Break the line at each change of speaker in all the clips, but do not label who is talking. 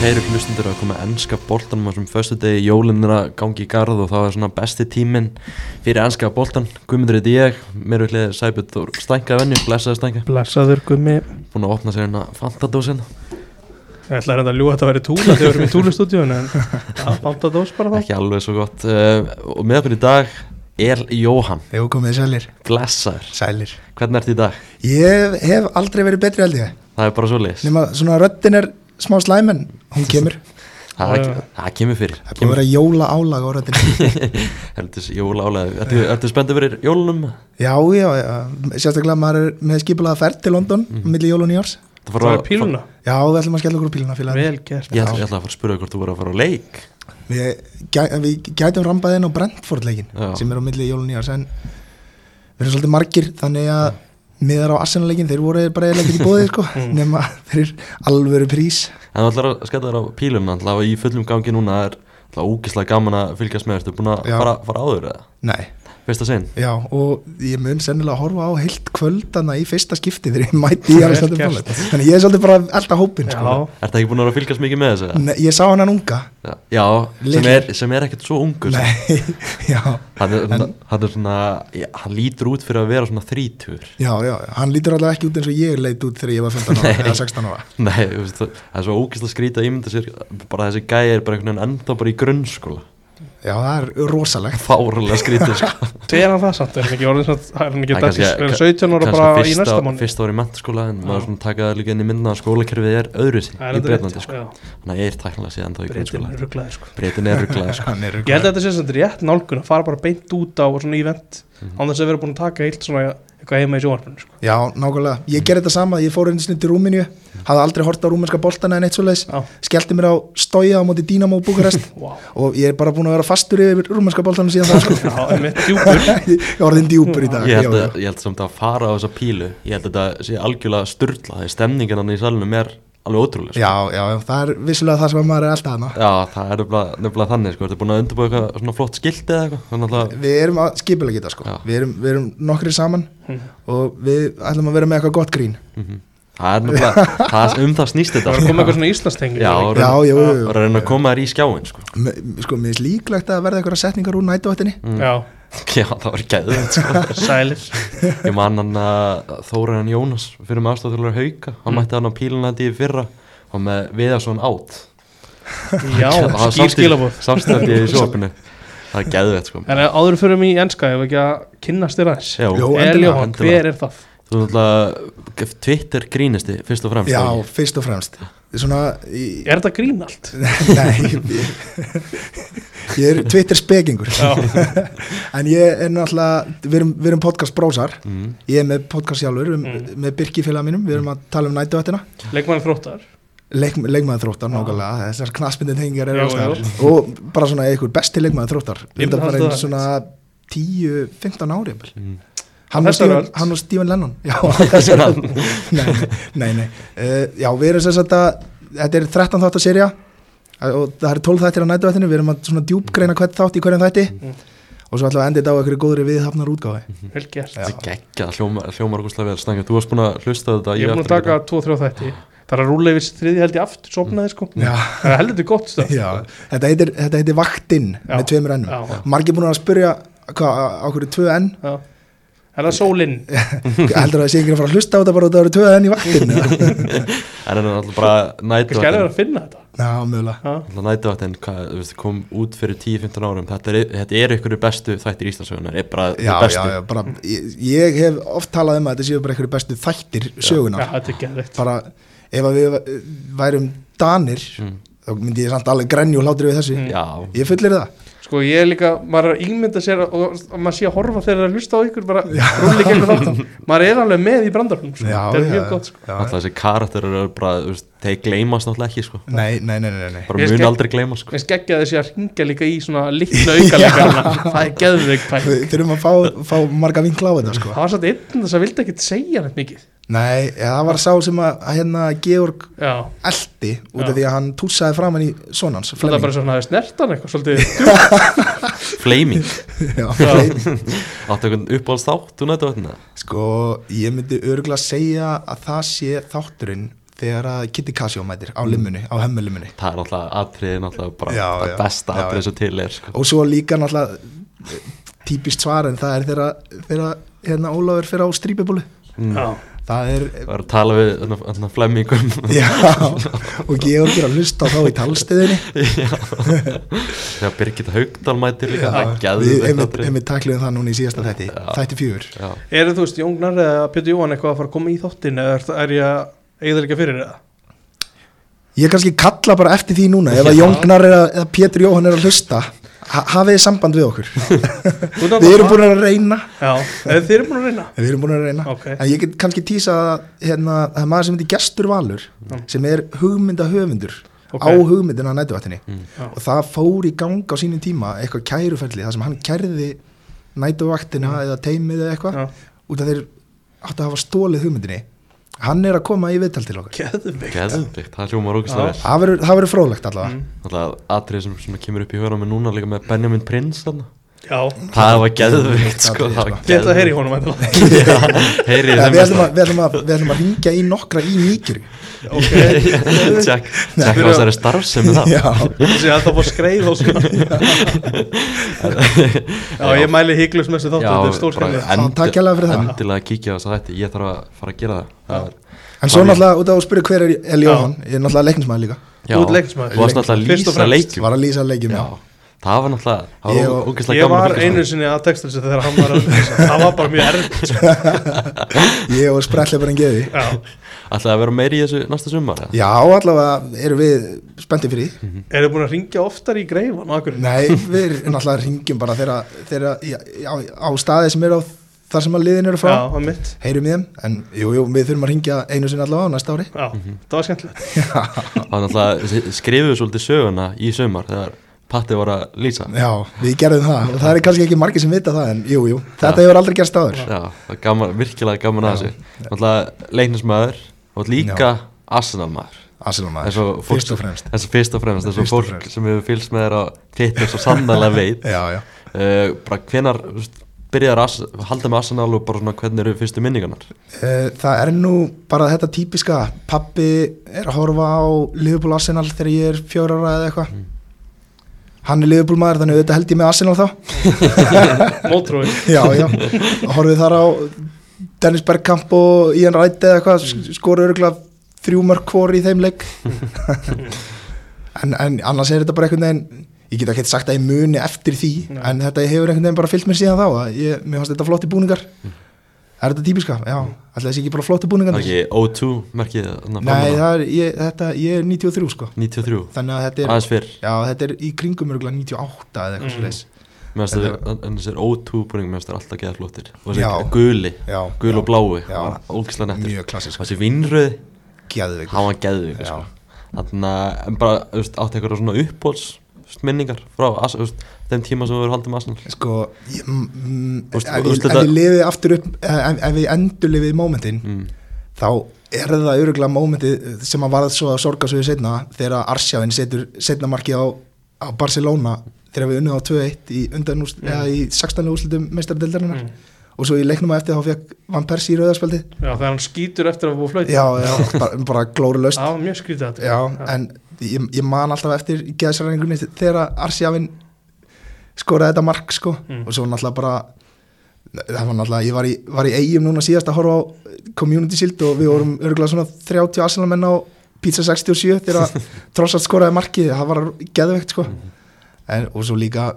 Kæru hlustundur að koma ennska boltanum á þessum föstu degi, jólinn er að gangi í garð og það er svona besti tíminn fyrir ennska boltan, Guðmundur heiti ég, mér er hlutlega Sæbjörn Þór Stænka venni, blessaði Stænka,
Blessaður gummi
búin að opna sér hérna fantadósin,
Ég ætla að reynda að ljúa að þetta væri túla þegar við erum í túlistúdíun en bánta dós bara þá
ekki alveg svo gott uh, og með okkur í dag er Jóhann,
Þegar komið sælir,
blessaður,
sælir.
hvernig ertu í dag?
Ég hef aldrei verið betri held ég,
Það er bara svo leis,
nema svona röddin er smá slæm en hún kemur.
það, það kemur fyrir,
Það er búin að vera jóla álag á röddinu.
heldur jólálega, ertu, ertu spenntið fyrir jólunum?
Já, já, já, sérstaklega maður er með skipulaða ferð til London mm. milli jól og nýjárs.
Það
Það er píluna,
Já, við ætlum að skella okkur úr píluna fyrir
vel gert
Ég ætla, ég ætla að fara að spura hvort þú voru að fara á leik
við, gæ, við gætum rambað inn á Brentford leikin
Já.
sem er á milli jól og nýjárs en við erum svolítið margir þannig að miðar á Arsenal leikin þeir voru bara eða ekki í bóðið sko nema þeir alvöru prís.
En þú ætlar að skella þér á píluna alltaf í fullum gangi núna er alltaf ógislega gaman að fylgjast með Ertu búin að
Já.
fara, fara áður eða?
Nei,
Fyrsta sinn?
Já, og ég mun sennilega að horfa á heilt kvöldana í fyrsta skipti þegar ég mætti í Arsenal
gert.
Palace. Þannig ég er svolítið bara alltaf hópinn,
Já,
sko.
Ertu ekki búin að vera að fylgjast mikið með þessu?
Nei, ég sá hann hann unga.
eða?
Mm.
Já, sem
Litlu.
er, sem er ekkert svo ungur sko.
Nei, já,
Hann er,
En-
hann er svona, já, hann lítur út fyrir að vera svona þrítur
já, já, hann lítur alltaf ekki út eins og ég leit út þegar ég var 15 ára eða 16 ára.
Nei, þú veist, það það er svo ógislega skrýta ímynda sér bara þessi gæi er bara einhvern veginn ennþá bara í grunnskóla
Já, það er rosalegt.
Fárulega skrýta sko.
segir hann það samt, er hann ekki orðin samt, er hann ekki
Það er
dættis, er hann 17 ára
kannski
bara í
fyrsta-
næsta mann
Fyrsta ári í mentaskóla en maður svona taka það líka inn í myndna að skólakerfið er öðru sín í Breitlandi sko. Þannig að ég er tæknilega síðan þá í
Breytin
grunnskóla
er rugglaði sko
Breytin er rugglaði sko.
Hann er
Ég held að þetta sé samt rétt nálgun að fara bara beint út á svona event
Mhm.
án þess að vera búin að taka heilt svona eitthvað heima í sjónvarpinu sko
Já, nákvæmlega. Ég gerði þetta sama, ég fór einu sinni til Rúminju, hafði aldrei hort á rúmenska boltana en eitt svoleiðis,
Já.
skellti mér á stója á móti Dínamo Búkarest
Vá,
og ég er bara búin að vera fastur yfir rúmenska boltana síðan það, sko.
já, einmitt djúpur
ég var orðin djúpur í dag
ég, held
já,
að, ég held samt að fara á þessa pílu Ég held að þetta sé algjörlega sturla Þegar stemningin hann í salunum er alveg ótrúlega sko.
já, já, já, það er vissulega það sem að maður er alltaf hana
Já, það er nefnilega, nefnilega þannig sko. Ertu búin að undirbúa eitthvað svona flott skilti eða eitthvað Þannig að
við erum að skipilega geta sko
Já.
við erum, við erum nokkri saman og við ætlum að vera með eitthvað gott grín
það er nefnilega það, er- Um það snýst
Það
þetta
var að
sko.
koma eitthvað svona íslandstengi
Já, og
já,
reyna-
já, já,
og
já.
reyna að koma þær í skjáin sko.
M- sko, mér er líklegt að verða eitthvað setningar úr nætuvættinni
mm.
já,
Já, það var gæðið sko.
sælir
Ég man hann að Þóraðan Jónas fyrir með aðstofþjóðlega hauka hann mætti hann á pílunandi í fyrra og með viðarsson átt
Já, skýr skilabóð
Samstændi í sjópinu Það er geðveitt sko
En eh, áður fyrir mig í enska, ég var ekki að kynnast þér aðeins
Já,
Jó,
El
endilega,
Jóhann,
endilega.
hver er það?
Þú ert alltaf Twitter grínisti fyrst og fremst
já,
ekki?
fyrst og fremst svona, í,
Er þetta grín allt?
nei ég, ég er Twitter spekingur
Já,
en ég er náttúrulega við erum, við erum podcast brósar
mm.
ég er með podcast sjálfur um,
Mm.
með Birki félag mínum, við erum að tala um nætuvættina
leikmann þróttar
Leik, leikmaður þróttar nákvæmlega, þessar knaspindin tengingar
Jú,
er ástæðar
jú.
og bara svona einhver besti leikmaður þróttar
Ég myndi
þetta bara
halda
einn
það.
svona 10-15 ári jafnvel.
Mm.
hann og,
Þessari
Steven,
öld.
hann og Steven Lennon já, þessar öll nei, nei, nei. Uh, já, við erum sem sagt að þetta er 13 þáttar serja og það eru 12 þættir á nætuvættinu, við erum að svona djúpgreina hvern þátt í hverjum þætti
Mm.
og svo ætlum við að enda þetta á einhverju góðri viðhafnar útgáfi
Vel gert
Já.
Það er geggjað, hljómar, hljómar okkur vel Stanga, þú varst búin að hlusta á þetta
Ég er búin
eftir-
að taka 2-3 þætti Það er að rúla yfir þriði held ég aftur, sopnaði sko
Mm. Já.
Það er heldur þetta gott stöð
já, þetta heitir, þetta heitir vaktinn
Já.
með tveimur ennum
Já.
margir búin að spyrja hvað, á hverju tvö enn
Já. Er það sólinn?
heldur að það sé ekki að fara að hlusta á þetta bara út að það eru tvöðan í vaktinu
En hann er alltaf bara
Kannski er það
nætuvættin
að finna þetta
Já, mögulega
Já.
Alltaf nætuvættin, hvað, þú veist, kom út fyrir 10-15 árum Þetta er, þetta er ykkur bestu þættir í Íslandsögunar Er bara
Já,
þeir
já,
bestu
já, bara, ég, ég hef oft talað um að þetta séu bara einhverju bestu þættir
Já,
söguna
þetta er geðvitt
bara ef að við eh, værum danir þá myndi ég samt alveg grenju og hlátri við þessu
Mm.
já.
ég fullir það,
Sko ég er líka, maður er að ímynda sér að- og og maður sé að horfa þegar það er að hlusta á ykkur bara rúli gegnum þáttan Maður er alveg með í brandarnum sko.
Já,
Það er mjög
já.
gott sko
Alltaf þessi karakter eru bara, þú veist, þeir gleymast náttúrulega ekki, sko.
nei, nei, nei, nei, nei.
Bara
Ég
mun
skil-
aldrei gleymast,
Mér
sko.
finnst geggja þessi að ringa líka í svona litla aukalega Það er geðveik pæl
Við þurfum að fá, fá marga vinkla á þetta sko.
Það var svolítið einn þess að vildi ekkert segja neitt mikið
Nei, ja, það var sá sem að, að hérna Georg
Já,
eldi út af
Já.
því að hann tússaði framann í sonans
það er bara svona að snertan eitthvað svolítið
Flaming.
Já,
Áttu einhvern uppáhalds þátt, þú nættu að þetta?
Sko, ég myndi örgulega segja að það sé þátturinn þegar að Kitty Casio mætir
Mm.
á limmunni, á hemmulimmunni
það er alltaf atriði náttúrulega bara
Já,
það
já.
besta
Já,
atriði
já.
sem til er sko.
og svo líka náttúrulega eh, típist svar en það er þegar þegar hérna Ólafur fyrir á strípibólu
mm.
það er
það er að tala við þarna- þarna flemmingum
já, og Georg er að hlusta á þá í talstöðinni
þegar Birgitta Haugdal mætir líka það
Já,
geður
við
þetta
einmitt
atriði
einmitt tækluðum það núna í síðasta þætti
Já.
þætti fjúur
Já.
Eru þú veist, Jóngnar eða Pétur Jóhann eitthvað að fara að koma í þóttin eða er, er ég að eigða líka fyrir það?
ég kannski kalla bara eftir því núna ef að
Já.
Jóngnar eða, eða Pétur Jóhann er að hlusta ha hafið þið samband við okkur
Þú ert
við
náttúrulega-
erum búin að reyna
Já, eða þið eru búin að reyna
við erum búin að reyna
Ok.
en ég get kannski tísa að, hérna, það er maður sem heitir Gestur Valur sem er hugmynda höfundur
Ok. Mm.
á hugmyndina á nætuvættinni
Já.
og það fór í gang á sínum tíma eitthvað kæruferli þar sem hann kærði nætuvaktina eða teimið eða eitthvað
Mm. Já.
út af þeir áttu að hafa stólið hugmyndinni hann er að koma í viðtal til okkar
Geðvig
Geðvikt, það hljómar ógæslega vel
Já.
það verður- það verður fróðlegt allavega
Mm.
Alltaf atrið sem, sem kemur upp í höfðan með núna líka með Benjamin Prince þarna
Já,
Það var geðvikt sko
Atriði,
það var
sko.
þið ætla að heyri
geðveikt.
honum væntanlega.
Já, Heyri
Eða,
sem
við,
best
ætlum að, við, ætlum að, við ætlum að ringja í nokkra í nýkjur
Ok,
Tjekk tjekk á þessari starf sem er það
þessi er alltaf að skreiða og svona Já, ég mæli híklust með þessu þáttu,
Já,
þetta er
bara
stórskemmið
endi-
Takk hérlega fyrir það.
Endilega kíkja á þess að þetta Ég þarf að fara að gera það. það er-
en svo náttúrulega út af að spyrja hver er Eli Jóhann ég er náttúrulega leiknismæður líka
Já,
Þú ert leiknismaður.
Þú varst náttúrulega að
Fyrst og
lýsa
fremst.
leikjum
var að lýsa leikjum já.
Já, það var náttúrulega Það
Ég
var
var-
ógæslega
Ég
gaman að
var
fylgjast
einu sinni að texta þessu þegar hann var að það var bara mjög erfitt sko.
ég og sprellið bara en geði
Já,
með. Ætlaði að vera meiri í þessu næsta sumar eða?
já allavega erum við spenntið fyrir því
eru búin að ringja oftar í greifan og akkur
nei við náttúrulega ringjum bara þeirra, þeirra já, já, á staði sem er á þar sem að liðin eru frá
Já, það mitt
heyrum í þeim en jú, jú, við þurfum að ringja einu sinni allavega á næsta ári
Já,
Mhm.
það var skemmtilegt
Það var náttúrulega Skrifuðu svolítið söguna í sumar Þegar Patti var að lýsa
já við gerðum það og það er kannski ekki margir sem vita það en jú, jú, þetta hefur aldrei gerst áður
Já, það er gaman, virkilega gaman að þessu Náttúrulega leiknismæður Og líka Arsenalmaður
Arsenal
eins og
maður,
fólk
fyrst og fremst
eins og fyrst og fremst eins og
Fyrst og
fólk
fremst.
sem hefur fylgst með þér á Twitter svo sannlega veit
já, já
uh, bara hvenar þú veist, byrjaðar að halda með Arsenal og bara svona hvernig eru fyrstu minningarnar
Eh, Það er nú bara þetta típiska pappi er að horfa á Liverpool Arsenal þegar ég er fjóra ára eða eitthvað Mm. Hann er Liverpool maður þannig auðvitað held ég með Arsenal þá
Mótrúi
Já, já, Og horfið þar á Dennis Bergkamp og Ian Wright eða eitthvað sk- skora örgulega þrjú mörg hvor í þeim leik Mm. en, en annars er þetta bara einhvern veginn ég get ekki sagt að ég muni eftir því
Nei.
en þetta hefur einhvern veginn bara fyllt mér síðan þá að ég, mér fannst þetta flotti búningar Er þetta típiska? Já, alltaf þessi ekki bara flotti
það er
búningar
ekki O2 merkið þarna
Nei,
framan á?
það er, ég, þetta, ég er 93 sko
93
Þannig að þetta er,
aðeins fyrr
já, þetta er í kringum örgulega 98 eða eitthvað mm.
Mm.
svoleiðis
Mér finnst
Þetta-
þetta- en þessir O2 búning mér finnst þetta alltaf geða flottir og
Já.
þessi guli
Já,
gul og
já,
blái
Já.
ógislega nettur
mjög klassisk,
og þessi vinnröð
geðveik
hann var geðvig
Já.
sko. þannig að en bara þú veist, átti eitthvað svona uppbóls minningar frá Ars- þú veist, þeim tíma sem við vorum haldið með Arsenal
Sko, ég, mm,
Úrst-
ef, ég,
úrslita-
ef ég lifi aftur upp, eh, ef, ef ég endur lifið mómentin
mm.
þá er það örgulega mómentið sem að varð svo að sorga svo við setna þegar að Arsjáin setur setna markið á, á Barcelona þegar við unnið á 2-1 í, undan úrst- eða í 16. úrslutum meistardeldarinnar
Mm.
og svo í leiknum á eftir þá fekk Van Persie í rauðarspjaldi
Já, þegar hann skýtur eftir að búið flöyt
já, já, bara, bara glórulaust
Það var mjög skrítið þetta
Já, en ég, ég man alltaf eftir geðsræningunni þegar Arsjafinn skoraði þetta mark sko
Mm.
og svo náttúrulega bara það var náttúrulega, ég var í, var í eigum núna síðast að horfa á Community Shield og við vorum örgulega svona 30 Arsenalmenn á Pizza 67 þegar að trossart skoraði markið, það var geðveikt sko en, og svo líka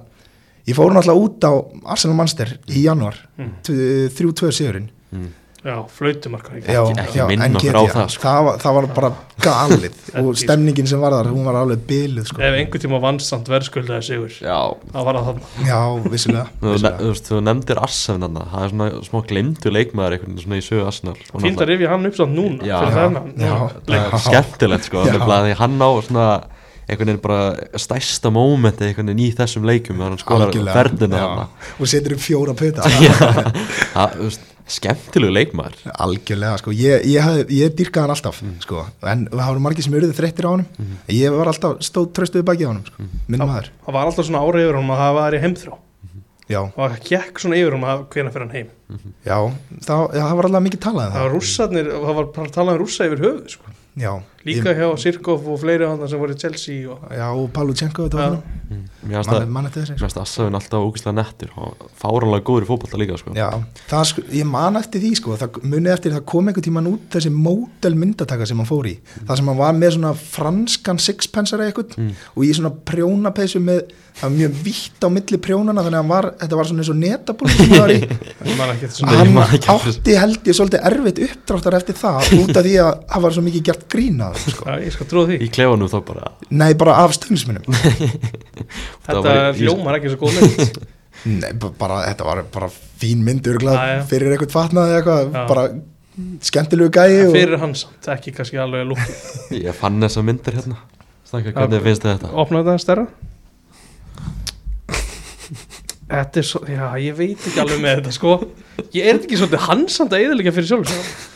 ég fór náttúrulega út á Arsenal Manster í januar,
Mm.
3-2 sigurinn
Mm.
Já, flöytumarkar
ekki minna
en
okkur
get
á
ég.
það, sko.
var, það var bara galið
Þetta er-
og stemningin sem var þar, hún var alveg byluð sko.
Ef einhvern tíma vannsamt verðskuldaði sigur
já,
Það var það þarna
já, vissulega,
Þú, ne
vissulega.
þú, veist, þú nefndir Arsenal þarna, það er svona smá glemdu leikmaður einhvern veginn svona í sögu Arsenal Og
Fínt að
náttúrulega-
rifja hann upp samt núna
Já.
Fyrir
Já.
þennan
Já.
leik.
það er skemmtilegt sko,
Já.
nefnilega því hann á svona einhvern veginn bara stærsta mómenti einhvern veginn í þessum leikum þegar hann skorar
Algjörlega.
ferðina
Já.
þarna
og setur upp fjóra pöta
Já, það, þú veist, skemmtilegu leikmaður
algjörlega, sko, ég, ég, hef, ég dyrkaði hann alltaf
Mm.
sko, en það voru margir sem eruðu þreyttir á honum ég var alltaf stóð tröstuði baki á honum
Mm.
sko. minn maður,
Það var alltaf svona ára yfir honum að það var í heimþrá
já,
og það gekk svona yfir um að hvena fyrir hann heim
já, það, já það var alltaf mikið talað um
það var rússarnir, það var bara að tala um rússa yfir höfuð sko.
já,
Líka
ég,
hjá Sirkov og fleiri hann sem voru í Chelsea og
já, og Palutjenko þetta var hann,
Mm, Mér finnst
mann,
það-
mann eftir
mér
þessi sko.
finnst Assafin alltaf ógæslega nettur og fáranlega góður í fótbolta líka sko.
já, það sko, ég man eftir því sko, það munið eftir það kom einhvern tíman út þessi mótel myndataka sem hann fór í það sem hann var með svona franskan sixpensara eitthvað
Mm.
og í svona prjónapeysu með, það var mjög vitt á milli prjónana þannig að hann var, þetta var svona eins og netabúl sem hann var í
ég man ekki eftir svona
Nei, ég
hann
man ekki eftir þessu.
átti held ég svolítið erfitt uppdráttar eftir það út af því að það var svo mikið gert grínað sko.
Já, ég skal trúa því
Í klefanum þá bara
nei bara af stöðnisminum
það
Þetta
var í-
hljómar ekki svo góð mynd
nei b- bara þetta var bara fín mynd
Já,
örgulega
já.
fyrir eitthvað fatnaði eitthvað
Já.
bara skemmtilegu gæi og,
Fyrir hans, ekki kannski alveg að lúka
Ég fann þessa myndir hérna Stanka, hvernig finnst þið þetta?
Opnaðu þetta stærra Þetta er svo, já, ég veit ekki alveg með þetta sko Ég er þetta ekki svolítið hansand að eðalega fyrir sjálf sér.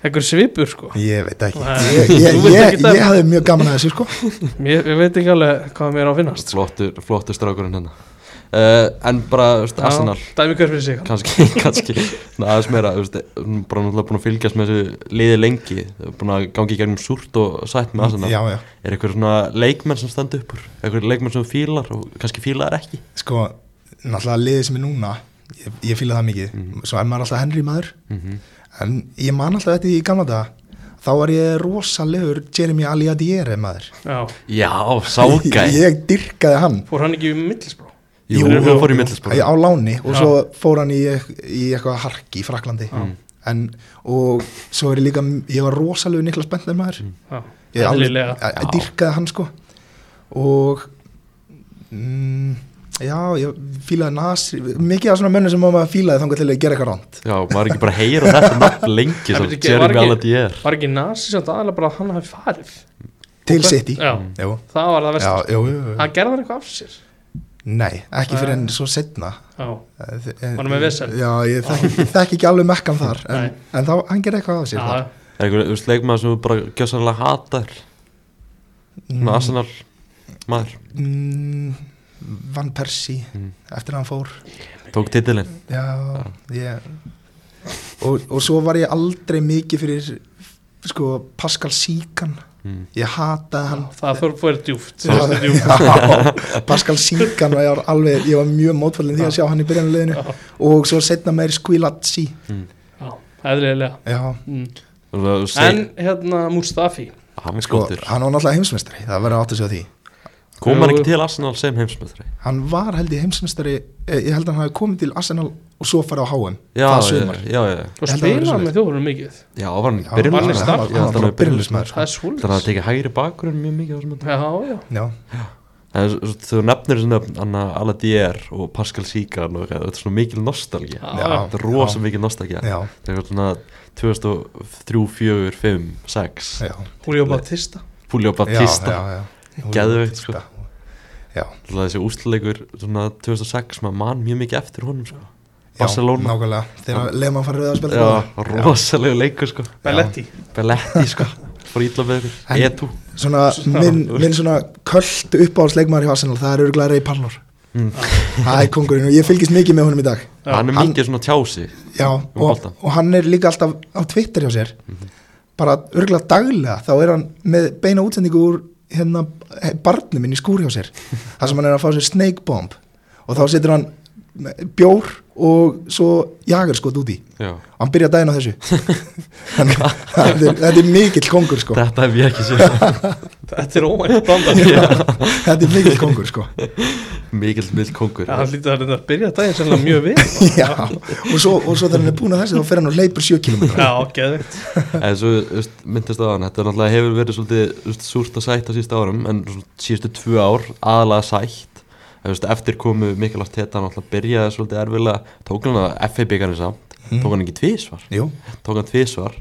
Einhver svipur sko
ég veit ekki
Nei.
ég, ég,
Þú veist
ég,
ekki það.
ég hafði mjög gaman að þessu sko
Ég, ég veit ekki alveg hvað mér á að finnast sko.
Flottur, flottur strákurinn hérna uh, En bara, veist, Arsenal
Já, Dæmi hver fyrir sig
kannski, kannski svona aðeins meira, þú veist, bara náttúrulega búin að fylgjast með þessu liði lengi búin að gangi í gegnum súrt og sætt með Arsenal
já já
er eitthvað svona leikmenn sem standa upp úr eitthvað leikmenn sem þú fílar og kannski fílar ekki
sko náttúrulega liðið sem er núna ég, ég fýla það mikið svo er maður alltaf Henry maður
mm -hmm.
en ég man alltaf þetta í gamla daga þá var ég rosalegur Jeremy Aliadiere maður
Já,
Já, ságæ
ég dyrkaði hann
fór hann ekki um millisbró
Jú,
Jú,
þú fór í
jú.
millisporu
Æ, á láni og
Já.
svo fór hann í, e-, í eitthvað harki í Fraklandi en, og svo er ég líka ég var rosalegu Niklas Bender maður
Já,
ég alveg,
eðlilega.
að,
Já.
að dyrkaði hann sko og mm, já, ég fílaði Nasri mikið af svona mönnum sem maður fílaði þangar til að gera eitthvað ránt
Já, maður er ekki bara að heyra þetta nafn lengi
En
svo
veitu ekki, var
Jeremy
ekki-
Alladier
Var ekki nasi samt aðalega bara að hann hafi farið
til
Og hver-
City
Já,
Jú.
það var það
já,
vest
jú, jú, jú.
Hann gerði hann eitthvað af sér
nei, ekki fyrir
Nei.
en svo setna
Já,
var
Var hann með vesen?
já, ég þekki þekki ekki alveg mekkan þar
Nei.
en, en þá, hann gerði eitthvað af sér
já,
þar.
Er eitthvað, þú veist, leikmenn sem þú bara gjössanlega hatar svona
Mm.
Arsenal maður,
mm, Van Persie
Mm.
eftir að hann fór
tók titilinn
já, ég og, og svo var ég aldrei mikið fyrir sko Pascal Síkan
mm.
ég hataði hann
það fór, fór djúft
Já,
Það fór djúft
já, Pascal Síkan var ég var alveg, ég var mjög mótfælinn því að sjá hann í byrjanleginu
Já.
og svo setna meir Skvilatsi
Já, eðlilega
já,
mm.
og þú veist,
En hérna Mustafi
hann
sko,
skotur
hann var náttúrulega heimsmeistari það verður að átta sig á því Sko,
kom hann
Jú.
ekki til Arsenal sem heimsmeistri
hann var held ég heimsmeistari eh, ég held að hann hafi komið til Arsenal og svo farið á HM
Já,
það
já,
sumar
já, já
Og
Ég held að það væri
spilaði
svoleiðis.
með þjóðurum mikið
Já, sko. var hann
Já,
byrjunum
hann er starf-
Já, hann
hann var sko.
var byrjunum
byrjunarmaður,
Það er
Þannig að það
svoleiðis
tekja hægri bakurinn mjög mikið á þessum myndum
Já, já
já,
En svo- svo- þú nefnir þessu nöfn Anna Aladier og Pascal Síkan og eitthvað, þetta er svona mikil nostalgía
Já.
Þetta er rosa mikil nostalgía
já,
Það er eitthvað svona 2003, 4, 5, 6
já,
Julio Batista
Púljó Batista
já, já, já.
Geðveikt, sko.
já,
Alltaf þessi úsleikur svona 2006 maður man mjög mikið eftir honum sko.
já,
Barcelona
nákvæmlega þegar Lehmann farið að spila
Já, rosalegu leikur sko
Belletti
Belletti sko Fór ítla með ykkur
En-
Etu
svona, minn, minn svona köllt uppáhaldsleikmaður hjá Arsenal, það er örgulega Rey Pallor
Mm.
það er kongurinn og ég fylgist mikið með honum í dag
Já.
Hann er
Hann-
mikið svona tjási
já, og,
Um boltann. Mhm.
og hann er líka alltaf á Twitter hjá sér bara örgulega daglega þá er hann með beina útsendingu úr hérna barnum inn í skúr hjá sér þar sem hann er að fá sér snake bomb og þá setur hann bjór og svo jagerskot út í
Já
og hann byrja daginn á þessu Þannig, þetta, er, þetta er mikill kongur sko
Þetta hef ég ekki séð
Þetta er óvænt blandar Já,
þetta er mikill kongur sko
Mikill mill kongur
hann lítið að reynda að byrja daginn sennilega mjög við
Já, og svo, og svo þegar hann er búin að þessu þá fer hann og leipur 7 km
Já, geðvegt
En svo þú veist, myndist á hann, þetta er náttúrulega hefur verið svolítið þú veist, súrt að sætt á síðustu árum en svona síðustu tvö ár aðalega sætt En, þú veist, eftir komu mikilvægt þetta náttúrulega byrjaði svolítið erfilega tók hann að FA byggarni samt tók hann ekki tvísvar,
Jú,
tók hann tvísvar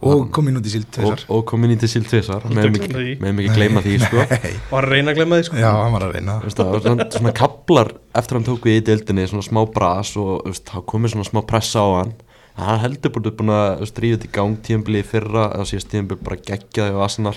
og
hann-
komin út í síld
og,
tvisar
og kom inn í til síl tvísvar
Aldrei
meðum
gleyma því.
ekki, meðum ekki gleyma því sko.
Var að reyna að glemma því sko
Já, hann var að reyna
Þú veist, það var svona, svona kaplar eftir hann tók við í deildinni svona smá bras og þú veist, þá komið svona smá pressa á hann en hann heldur bara búin að þú veist, ríða þetta í gang tíðanbili í fyrra eða síðast tíðanbili bara geggjaði á Arsenal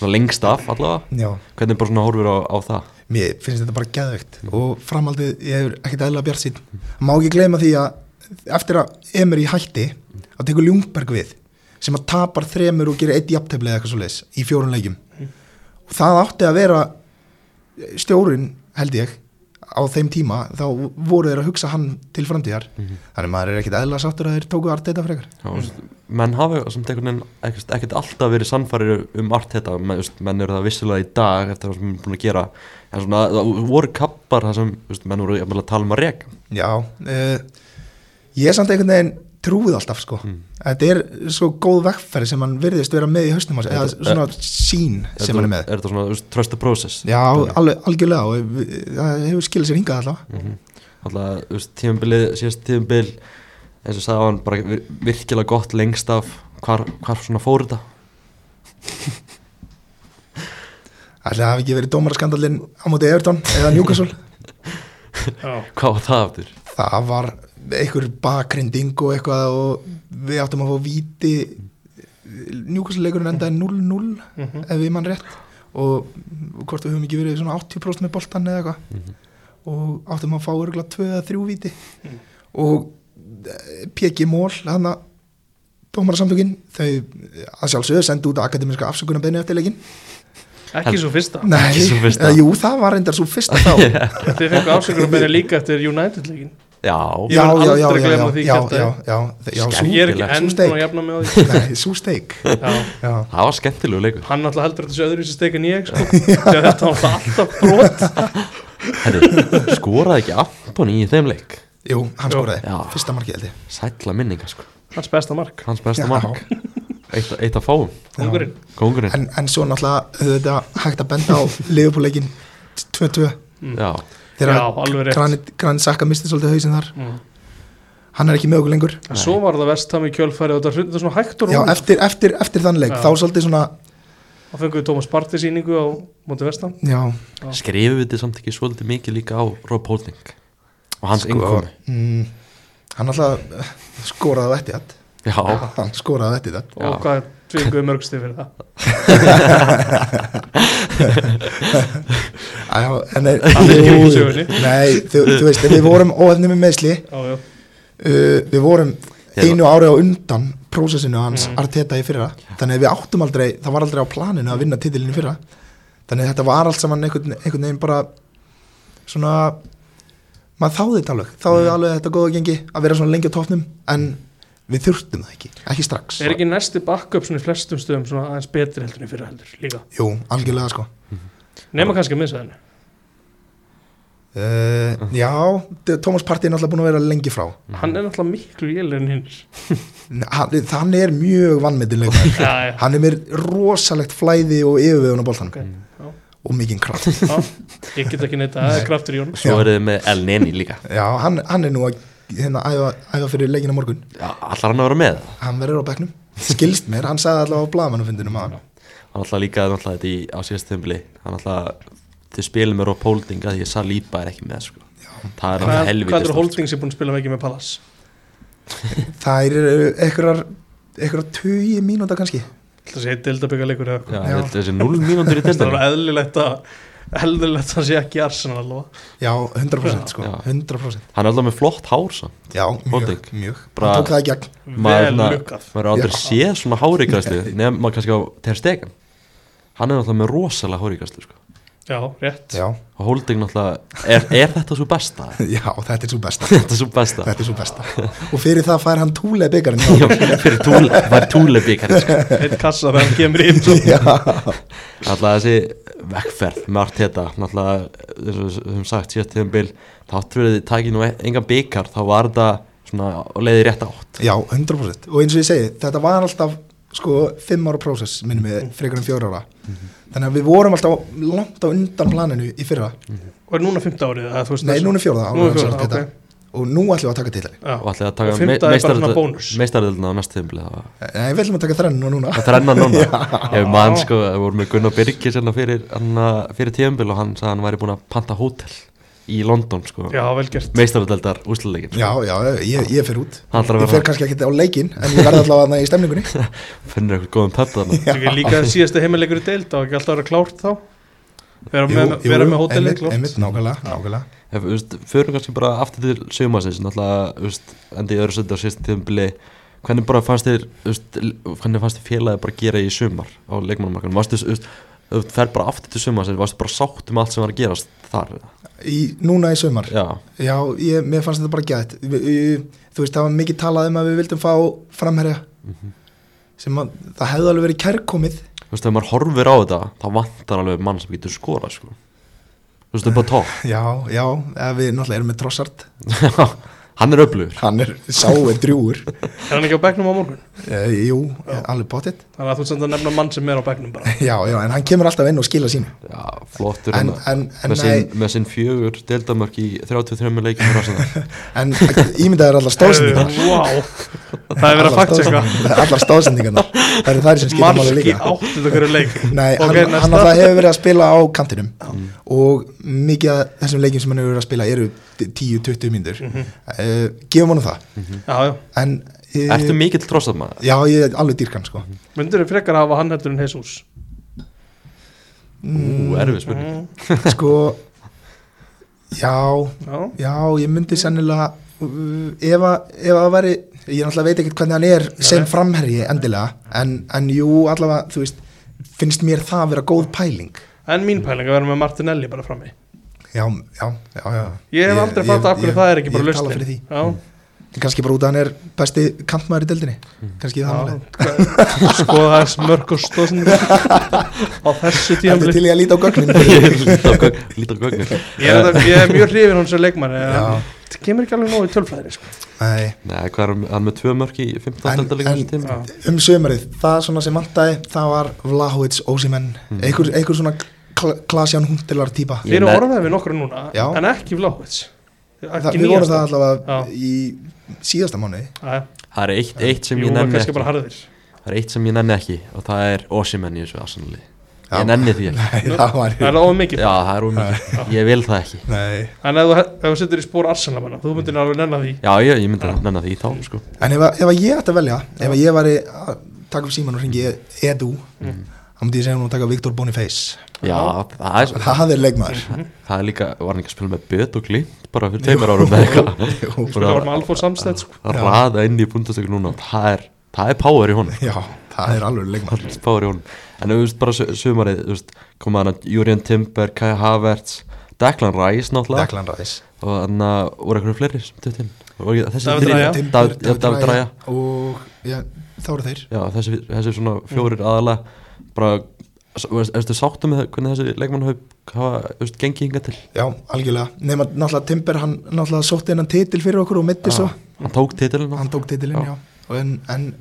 svona lengst af allavega
Já,
hvernig bara svona horfir á, á það
mér finnst þetta bara geðveikt og framhaldið, ég hefur ekkert eðla bjart sín má ekki gleyma því að eftir að Emery hætti þá tekur Ljungberg við sem að tapar þremur og gerir eitt jafntefli eða eitthvað svo leis í fjórun leikjum og það átti að vera stjórinn held ég á þeim tíma þá voru þeir að hugsa hann til framtíðar þannig maður er ekkit eðla sáttur að þeir tóku Arteta frekar
Já, þú veist, menn hafa samt einhvern veginn ekkert, ekkert alltaf verið sannfærir um allt þetta menn, þú veist, menn eru það vissulega í dag eftir það sem menn er búin að gera en svona, það voru kappar það sem þú veist, menn voru jafnvel að tala um að reka
Já, uh, ég er samt einhvern veginn trúið alltaf sko
Mm.
þetta er svo góð vegferð sem hann virðist vera með í hausnum hans, eða
Þetta-
svona sín sem hann er með
er þetta svona þú veist, trust the process
Já, alveg, algjörlega og við- það hefur skilað sér hingað allavega
alltaf, þú veist, tíðanbilið, síðast tíðanbil eins og sagði á hann, bara vir- virkilega gott lengst af hvar, hvar svona fór þetta
Ætli það hafi ekki verið dómaraskandalinn á móti Everton eða Newcastle
Já,
hvað var það aftur?
það var einhver bakrinding og eitthvað og við áttum að fá víti Newcastle leikurinn endaði 0-0
Mhm.
ef við mann rétt og hvort við höfum ekki verið svona 80% með boltan eða eitthvað
Mhm.
og áttum að fá örgulega 2 eða 3 víti
Mhm.
og eh, PG Mól hann að dómarasamtökin þau að sjálfsögðu sendu út akademiska afsökunarbeinu eftir leikin
ekki svo fyrsta
Nei,
Ekki sú fyrsta.
eða, jú það var reyndar svo fyrsta þá
Þið fengu ásökur að byrja líka eftir United-leikin
já,
Ég
já,
mun
já,
aldrei
já, já,
gleyma
já,
því,
já,
Kjartan.
já, já, já, sú,
Ég er ekki
Skemmtilegt.
enn
Sú steik.
búin að jafna með á því
nei, sú steik
Já,
já,
það var skemmtilegu leikur
Hann alltaf heldur að þetta sé öðruvísi steik en ég sko. Þegar þetta var alltaf brot
Herri, skoraði ekki Antoni í þeim leik
jú, hann skoraði,
Já.
fyrsta markið held ég
sætla minninga sko,
Hans besta mark,
hans besta
Já.
mark eitt, eitt að fáum,
kongurinn
kongurinn
en, en svo náttúrulega þetta hægt að benda á liðupúleikin 2-2
já,
Já, alveg rétt.
Granit, Granit Saka misti svolítið hausinn þar
Mm.
hann er ekki með okkur lengur
En Svo var það vestam í kjölfæri og þetta hrundi svona hægt og
já,
rólega
eftir, eftir, eftir þann leik,
Já.
þá svolítið svona
Þá fengum við Thomas Partey síningu á móti vestam
já,
skrifum við þetta samt ekki svolítið mikið líka á Rob Holding og hans sko, innkomi
mm, hann náttúrulega eh, skoraði á eftir þetta
já,
hann skoraði á eftir þetta
Já.
Og hvað fengum við mörgstu fyrir það
Æ, já, en þeir-
Það er ekki mikið í
Jú,
sögunni.
nei, þú, þú veist, við vorum óefni með meðsli
Já, já,
uh, við vorum
Þeir-
Hérna.
einu ári á undan prósessinu hans
Mhm.
Arteta í fyrra þannig að við áttum aldrei, það var aldrei á planinu að vinna titilinu í fyrra þannig að þetta var allt saman einhvern, einhvern veginn bara svona maður þáði þetta alveg, þáði
Mm.
við alveg þetta góða gengi að vera svona lengi á topnum en við þurftum það ekki, ekki strax
er ekki næsti backup svona í flestum stöðum svona aðeins betri heldur en fyrir heldur líka
Jú, algjörlega sko
Nefna kannski að missa henni
uh, Já, D- Thomas Partey er náttúrulega búin að vera lengi frá
Mhm.
Hann er náttúrulega miklu jælir en hinn
N- hann, hann er mjög vannmyndinleik
Já, já,
hann er mér rosalegt flæði og yfirvegun á boltanum
ok
Mm.
Já,
og mikinn kraft
já. Ég get ekki neitt að það er kraftur í honum
svo er þið með El Neni líka
Já, hann, hann er nú að hérna, æfa, æfa fyrir leikin á morgun
já, allar hann að vera með
Hann verður á bekknum Skilst mér, hann sagði allavega á blagamannufundinu maður
hann alltaf líka alltaf þetta í, á síðast þeimli hann alltaf, þau spilum með Rob Holding að því að Saliba er ekki með sko. það er hann
Hvað
helvítið
hvað eru holdings sem búin að spila mikið með Pallas?
Það eru einhverjar einhverjar tugi mínúta kannski
Það sé deildabyggarleikur eða eitthvað
já,
Já.
já. þessi 0 mínútur í
Það er
testan
alveg eðlilegt að eðlilegt að það sé ekki Arsenal alveg
Já, 100% sko
Já.
100%
hann er alltaf með flott hár samt.
Já, mjög,
Holding.
mjög
Bra.
Hann tók það í gegn
Maður
vel
na-
lukkað
maður er aldrei
Já.
séð svona hárikræslu nefnum maður kannski á Ter Stegen hann er alltaf með rosalega hárikræslu sko.
Já, rétt
Já,
og Holding náttúrulega er, er þetta svo besta?
já þetta er svo besta
þetta er svo besta
Þetta er svo besta Og fyrir það fær hann túlega byggarinn
Já, fyrir túle, var túlebíkar sko.
Eitt kassa þegar hann kemur inn svo.
Já,
alltaf þessi hérna, vekkferð með allt þetta alltaf, sem sagt, síðast tíðan bil þátt fyrir þið takið nú engan bíkar þá var þetta svona og leiði rétt átt
já, 100% Og eins og ég segi, þetta var alltaf sko 5 ára prósess, minnum við, frekar en 4 ára Þannig að við vorum alltaf langt á undan planinu í fyrra
Og er núna fimmta árið eða, þú veist,
Nei,
þessu-
núna er fjórða
Nú er
ára
fjórða,
okay. Og nú ætlum við að taka titli
og
Já.
alltaf að
Og
taka
fimmta er bara svona bónus.
meistarðildina á næst tíðan bil það
Nei, við ætlum að taka þrennu núna
það þrenna núna ef mann sko, við vorum með Gunnar Birgis hérna fyrir, hérna, fyrir tíðan bil og hann sagði að hann væri búin að panta hótel í London sko,
Já, vel gert
meistarðildar úsluleikin
Já, já, ég, ég fer út
Það ætlar að
Ég
vera-
fer kannski ekki á leikin En ég verði allavega þarna í stemningunni
finnir eitthvað góðum pöpp þarna
Svo ekki líka síðasti heimileikur í deild og ekki alltaf að vera klárt þá Vera
Jú,
með,
jú,
vera
jú,
með hótelið
einmitt,
klárt
einmitt, nákvæmlega, nákvæmlega
Ef, þú veist, förum kannski bara aftur til sögumassins náttúrulega, þú veist, endið í öðru söndu á síðast tíðumbili hvernig bara fannst þér just, hvernig fannst þér félagi bara gera í sumar á leikmannumarkanum, varstu just, þú fer bara aftur til sumar, varstu bara sátt um allt sem var að gerast þar eða?
í, núna í sömar
já,
Já, ég, mér fannst þetta bara gætt Þú veist, það var mikið talað um að við vildum fá framherja
Mhm.
sem að það hefði alveg verið kærkomið
þú veist, þegar maður horfir á þetta þá vantar alveg mann sem getur skora sko. þú veist, það er bara tók
Já, já, eða við náttúrulega erum með Trossard
hann er öflugur
Hann er sáið drjúur
Er hann ekki á begnum á morgun?
eh, Jú, alveg bóttið
Þannig að þú senda að nefna mann sem er á begnum bara
Já, já, en hann kemur alltaf inn og skila sínu
já, flottur
En,
hann að-
en, en,
með
nei,
sinn- með sinn fjögur deildamörk í 33 leikum já,
en ímyndaður allar stóðsendingarnar
Wow Það er verið að sko. faktseka
Allar stóðsendingarnar Það eru þær sem skipta máli
Marki
líka
áttið okkur leik
Nei,
Ok,
hann,
næsta.
hann alltaf hefur verið að spila á kantinum og mikið af þessum leikjum sem hann hefur verið að spila eru 10-20 mínútur mm gefum honum það
Já, já
en, uh,
ertu mikill trossað maður
Já, ég er alveg dýrkan sko
Myndur þau frekar hafa hann heldur en Jesus
ú, erfið spurning
mm,
sko, já
Já,
já, ég myndi sennilega uh, ef, að, ef að það væri ég náttúrulega veit ekkert hvernig hann er sem framherji endilega, en, en jú allavega, þú veist, finnst mér það að vera góð pæling
en mín pæling að vera með Martinelli bara frammi
Já, já, já, já
Ég hef aldrei fatt af hverju
ég-
það er ekki bara
Ég tala
lausnin
fyrir því
Já,
kannski bara út að hann er besti kantmaður í deildinni kannski það málið
já Skoða það er smörk og stóðsinn á þessu
Þetta er
tíamli
til ég að líta á gögnin
lítið á gögnu
Ég er, þetta- ég er mjög hrifin hún sem leikmann
Já.
Það kemur ekki alveg nógu í tölfræðir sko.
Nei,
Nei, hvað er hann- hann með tvö mörk í 15
En-
deildaleikjum
en-
þessu tíma?
Já.
um sömarið, það svona sem vantaði það var Vlahovits Ósimenn einhver, einhver svona kla Klasján Hundelar típa
Ég
Þeir eru
nefn-
orðaðið við nokkur núna
Já.
En ekki Vláhvits
það, Við vorum það allavega
sko. Já.
í síðasta mánuði
Það er eitt, eitt sem
Jú,
ég
það er
nenni ekki
kannski bara harðir
Það er eitt sem ég nenni ekki og það er Osimenn í þessu arsenali
Já.
Ég nenni því ekki
Nei, það var
Það er það ofan mikið
Já, það er ómikið Ég vil það ekki
Nei.
En ef þú, ef þú setur í spór Arsenal manna, þú myndir alveg nennan því
Já, ég, ég myndi að nenni því þá sko.
En ef, að- ef að ég ætti að velja ef að ég væri að taka upp síman og ringi Edu
Hmm.
þá myndi ég segja hún að taka Viktor Boniface
Já, það er, svo-
það er leikmaður
það er líka Var hann ekki að spila með böt og glýnt bara fyrir teimur árum eða eitthvað
Jú.
Þú var með Alfór Samstedt sko.
Að raða inn í búndastöku núna Það er, það er power í honum
Já, það er alveg leikmaður
Það er power í honum En þú veist bara su- sumarið þú veist, koma hann að Júrian Timber, Kai Havertz Declan Rice náttúrulega
Declan Rice
og þannig að voru eitthvað fleiri sem dutt inn Voru ekki- þessi
David
þrír-
Raya.
David-
Timber,
já, David Raja
og já, þá eru þeir
Já, þessi, þessi svona fjórir aðalega bara, erstu sáttum með það- hvernig þessi leikmann hafa hafa, þú veist, gengið hinga til
já, algjörlega, nema náttúrulega Timber hann náttúrulega sótti hennan titil fyrir okkur og mitti svo,
hann tók titilin
hann tók titilinn já, Og en, en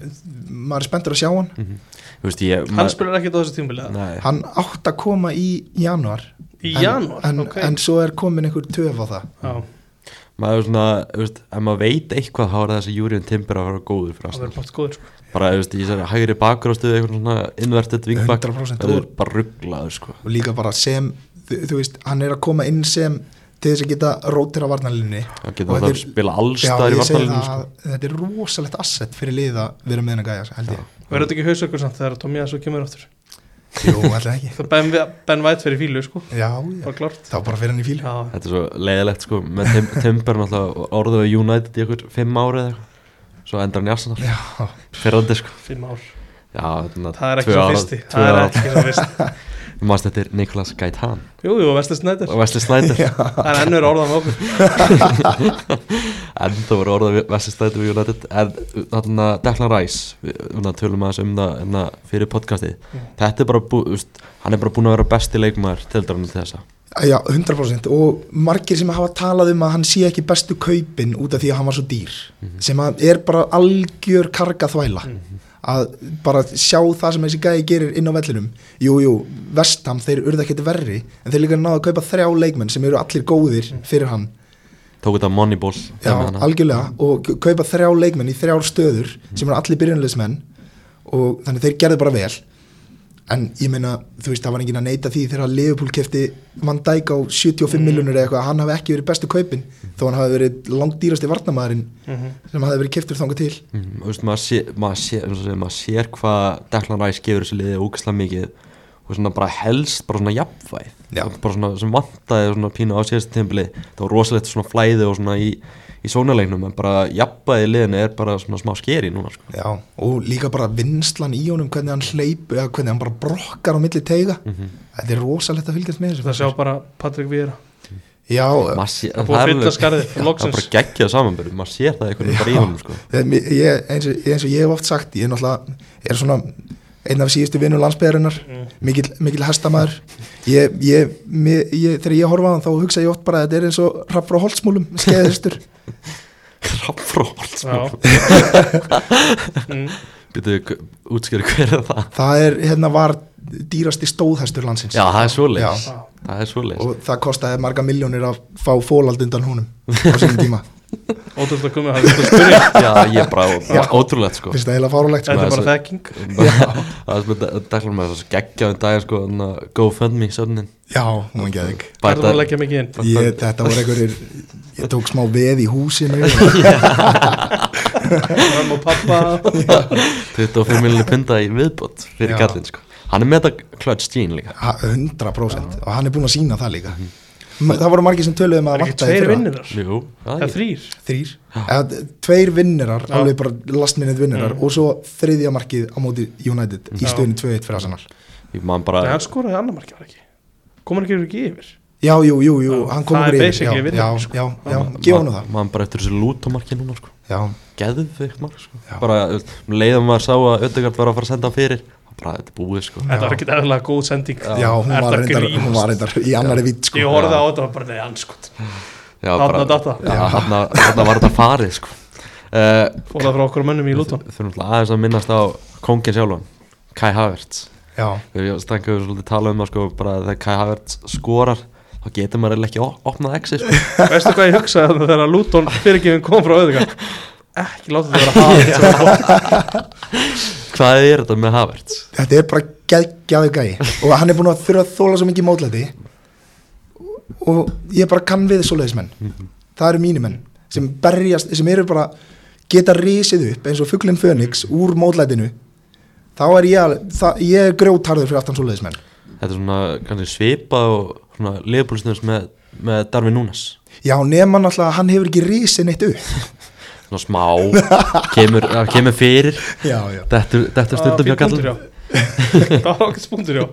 maður er spenntur að sjá hann
Þú veist, ég
Hann
maður-
spilar ekkert á þessu tímbilið
Nei,
hann átt að koma í januar
Í
En-
janúar,
en,
ok.
en svo er komin einhver töf á það
Já,
maður er svona, þú veist, ef maður veit eitthvað þá er þessi Júriðan Timber að vera góður fyrir
það verður
Arsenal
bátt góður sko.
bara, þú veist, í þessari hægri bakur á stuði eitthvað svona invertið vingbak
100%
það er bara rugglaður, sko
og líka bara sem, þú, þú veist hann er að koma inn sem til þess að geta rótira varnalinni
hann getur alltaf að spila allstæðar í vartalinu sko.
þetta er rosalegt asset fyrir liða að vera með hennar gæja, held ég
Verður þetta ekki hausökkur samt þegar Tomias svo kemur aftur
jú, alltaf ekki
Það Ben, ben White fyrir fílu sko.
já,
Það
já,
er klart
þá bara fyrir hann í fílu
Já,
Þetta er svo leiðilegt sko með tim Timber náttúrulega orðið við United í ykkur fimm ári eða eitthvað svo endar hann í Arsenal
já,
fyrrandi sko
fimm ár
Já, þannig að
Það er ekki
tvö
svo
ára-
fyrsti
tvö
Það er
ára-
ekki svo fyrsti
Þú manst þetta er Niklas Gaitan
Jú, jú, Vestlið Snæder
og Wesley Snyder
Það er ennur orðan okkur
en það voru orðað við- Wesley Snyder við United en þannig að Declan Rice við þarna tölum aðeins um það hérna, fyrir podcastið þetta er bara bú, úst, hann er bara búin að vera besti leikmaður til dæmis til þessa
Já, 100% og margir sem hafa talað um að hann sé ekki bestu kaupin út af því að hann var svo dýr
Mhm.
sem að er bara algjör karga þvæla að bara sjá það sem þessi gæði gerir inn á vellinum Jú, jú, vestam, þeir urða ekkert verri en þeir líka náðu að kaupa þrjá leikmenn sem eru allir góðir
Mhm.
fyrir hann
tók þetta Moneyball
Já,
dæmi hana.
algjörlega og k- kaupa þrjá leikmenn í þrjár stöður sem eru allir byrjunleismenn og þannig þeir gerðu bara vel en ég meina, þú veist, það var enginn að neyta því þegar að Liverpool kefti Van Dijk á 75 mm. miljonur eða eitthvað, hann hafi ekki verið bestu kaupin þó hann hafi verið langdýrasti varnamæðurinn
Mhm.
sem hafi verið keftur þangað til
Mm, Mhm, þú veist, maður, sé, maður, sé, maður, sé, maður sér hvað Declan Rice gefur þessu liði ógæslega mikið og og svona bara helst bara svona jafnvæð
Já.
Og bara svona sem vantaði svona pínu á síðast tímbili það var rosalegt svona flæði og svona í, í sónalegnum en bara jafnvæði liðinu er bara svona smá skeri núna sko.
Já, og líka bara vinslan í honum hvernig hann hleyp, eða hvernig hann bara brokkar á milli teiga, þetta er rosalegt að fylgjast með þessu
Það sjá bara Patrik Víra
Já,
Massi,
Það búið að fylla skarðið,
það er
loksins
bara geggjað samanbyrjum maður sér það einhvern veginn bara í
Já.
honum sko.
Ég- ég, eins, og, eins og ég hef oft sagt ég er náttúrulega er svona einn af síðustu vinnum landsbyðarinnar mikill, mikill hestamæður ég, ég, ég, ég, þegar ég horfa á hann þá hugsa ég oft bara að þetta er eins og rapp frá holtsmúlum skeiðistur
Hrafnfróð
Já Mm,
Býtu, útskjöru hver er það?
það er hérna var dýrasti stóðhestur landsins
Já, það er svoleiðis
Já.
Það er svoleiðis
og það kostaði marga milljónir að fá fólald undan húnum á sínum tíma
Ótrúlega að koma það er spyrja.
Já, ég er bara,
Já.
bara ótrúlegt sko
finnst það heila fárulegt
Þetta er
Þetta er bara
sko.
svo-
þekking
Það er svona, dæklar með þess að geggja um daginn sko, þannig að GoFundMe söfnin
já, hún var geðig
Það er það að leggja mikið inn
ég, þetta voru einhverjir ég tók smá veð í húsinu og
Mamma og pappa
25 miljonir pinda í viðbót fyrir
Já.
kallinn sko Hann er með þetta clutch gene líka
Ha- 100% og hann er búinn að sína það líka Ma- það voru margir sem töluðum að
Það
það
er ekki Mhm. tveir
vantaði fyrra.
vinnirar
Jú, það
Það
er
er þrýr
þrýr, eða d- tveir vinnirar
Já.
alveg bara lastminnið vinnirar
Mm.
og svo þriðja markið á móti United í
Já.
stöðinu 2-1 fyrir Arsenal
Ég man
Nei,
bara,
hann skoraði annar markið var ekki Komur ekki yfir ekki yfir
já, jú, jú, jú,
Já,
hann kom
það er
okkur yfir já,
basically
já,
vinnirar, sko.
já, já,
ma-
gefa hann það
man bara eftir þessu lútumarki núna sko
já,
Geðveikt mark sko
Já.
Bara, þú veist, um leiðum maður sá að Ödegard var að fara að senda hann fyrir Bara, þetta er búið sko
Þetta var ekki eðlilega góð sending
já, hún
Er
var,
það
reyndar,
grínast?
hún var reyndar í annari vitt
Ég
sko.
horfði á þetta og bara neði anskot
Já,
Þarna datta.
Þarna var þetta farið sko uh,
Fór það frá okkur mönnum í Luton
Þurfum alltaf aðeins að minnast á kongin sjálfan Kai Havertz
já,
Þegar ég stænka við svolítið tala um það sko bara að þegar Kai Havertz skorar þá getur maður eiginlega ekki op- opnað exi sko.
Veistu hvað ég hugsaði þarna þegar Luton fyrirgefin kom frá auðvitað Ekki láta þetta vera hafið sem að fólk-
Hvað er þetta með Havertz?
þetta er bara geggjaðu gæi og hann er búinn að þurfa að þóla svo mikið mótlæti og ég bara kann við svoleiðismenn það eru mínu menn sem berjast, sem eru bara geta risið upp eins og fugglinn Fönix úr mótlætinu þá er ég, alveg- það, ég er grjótarður fyrir aftan svoleiðismenn
Þetta er svona kannski svipað og svona liðbúlstins með, með Darvin Núnes
já, nema náttúrulega að hann hefur ekki risið neitt upp
svona smá, kemur, ja, kemur fyrir
já, já,
þetta er
Ah,
stundum hjá kallum
fínn punktur, já. Það var okkur spundur já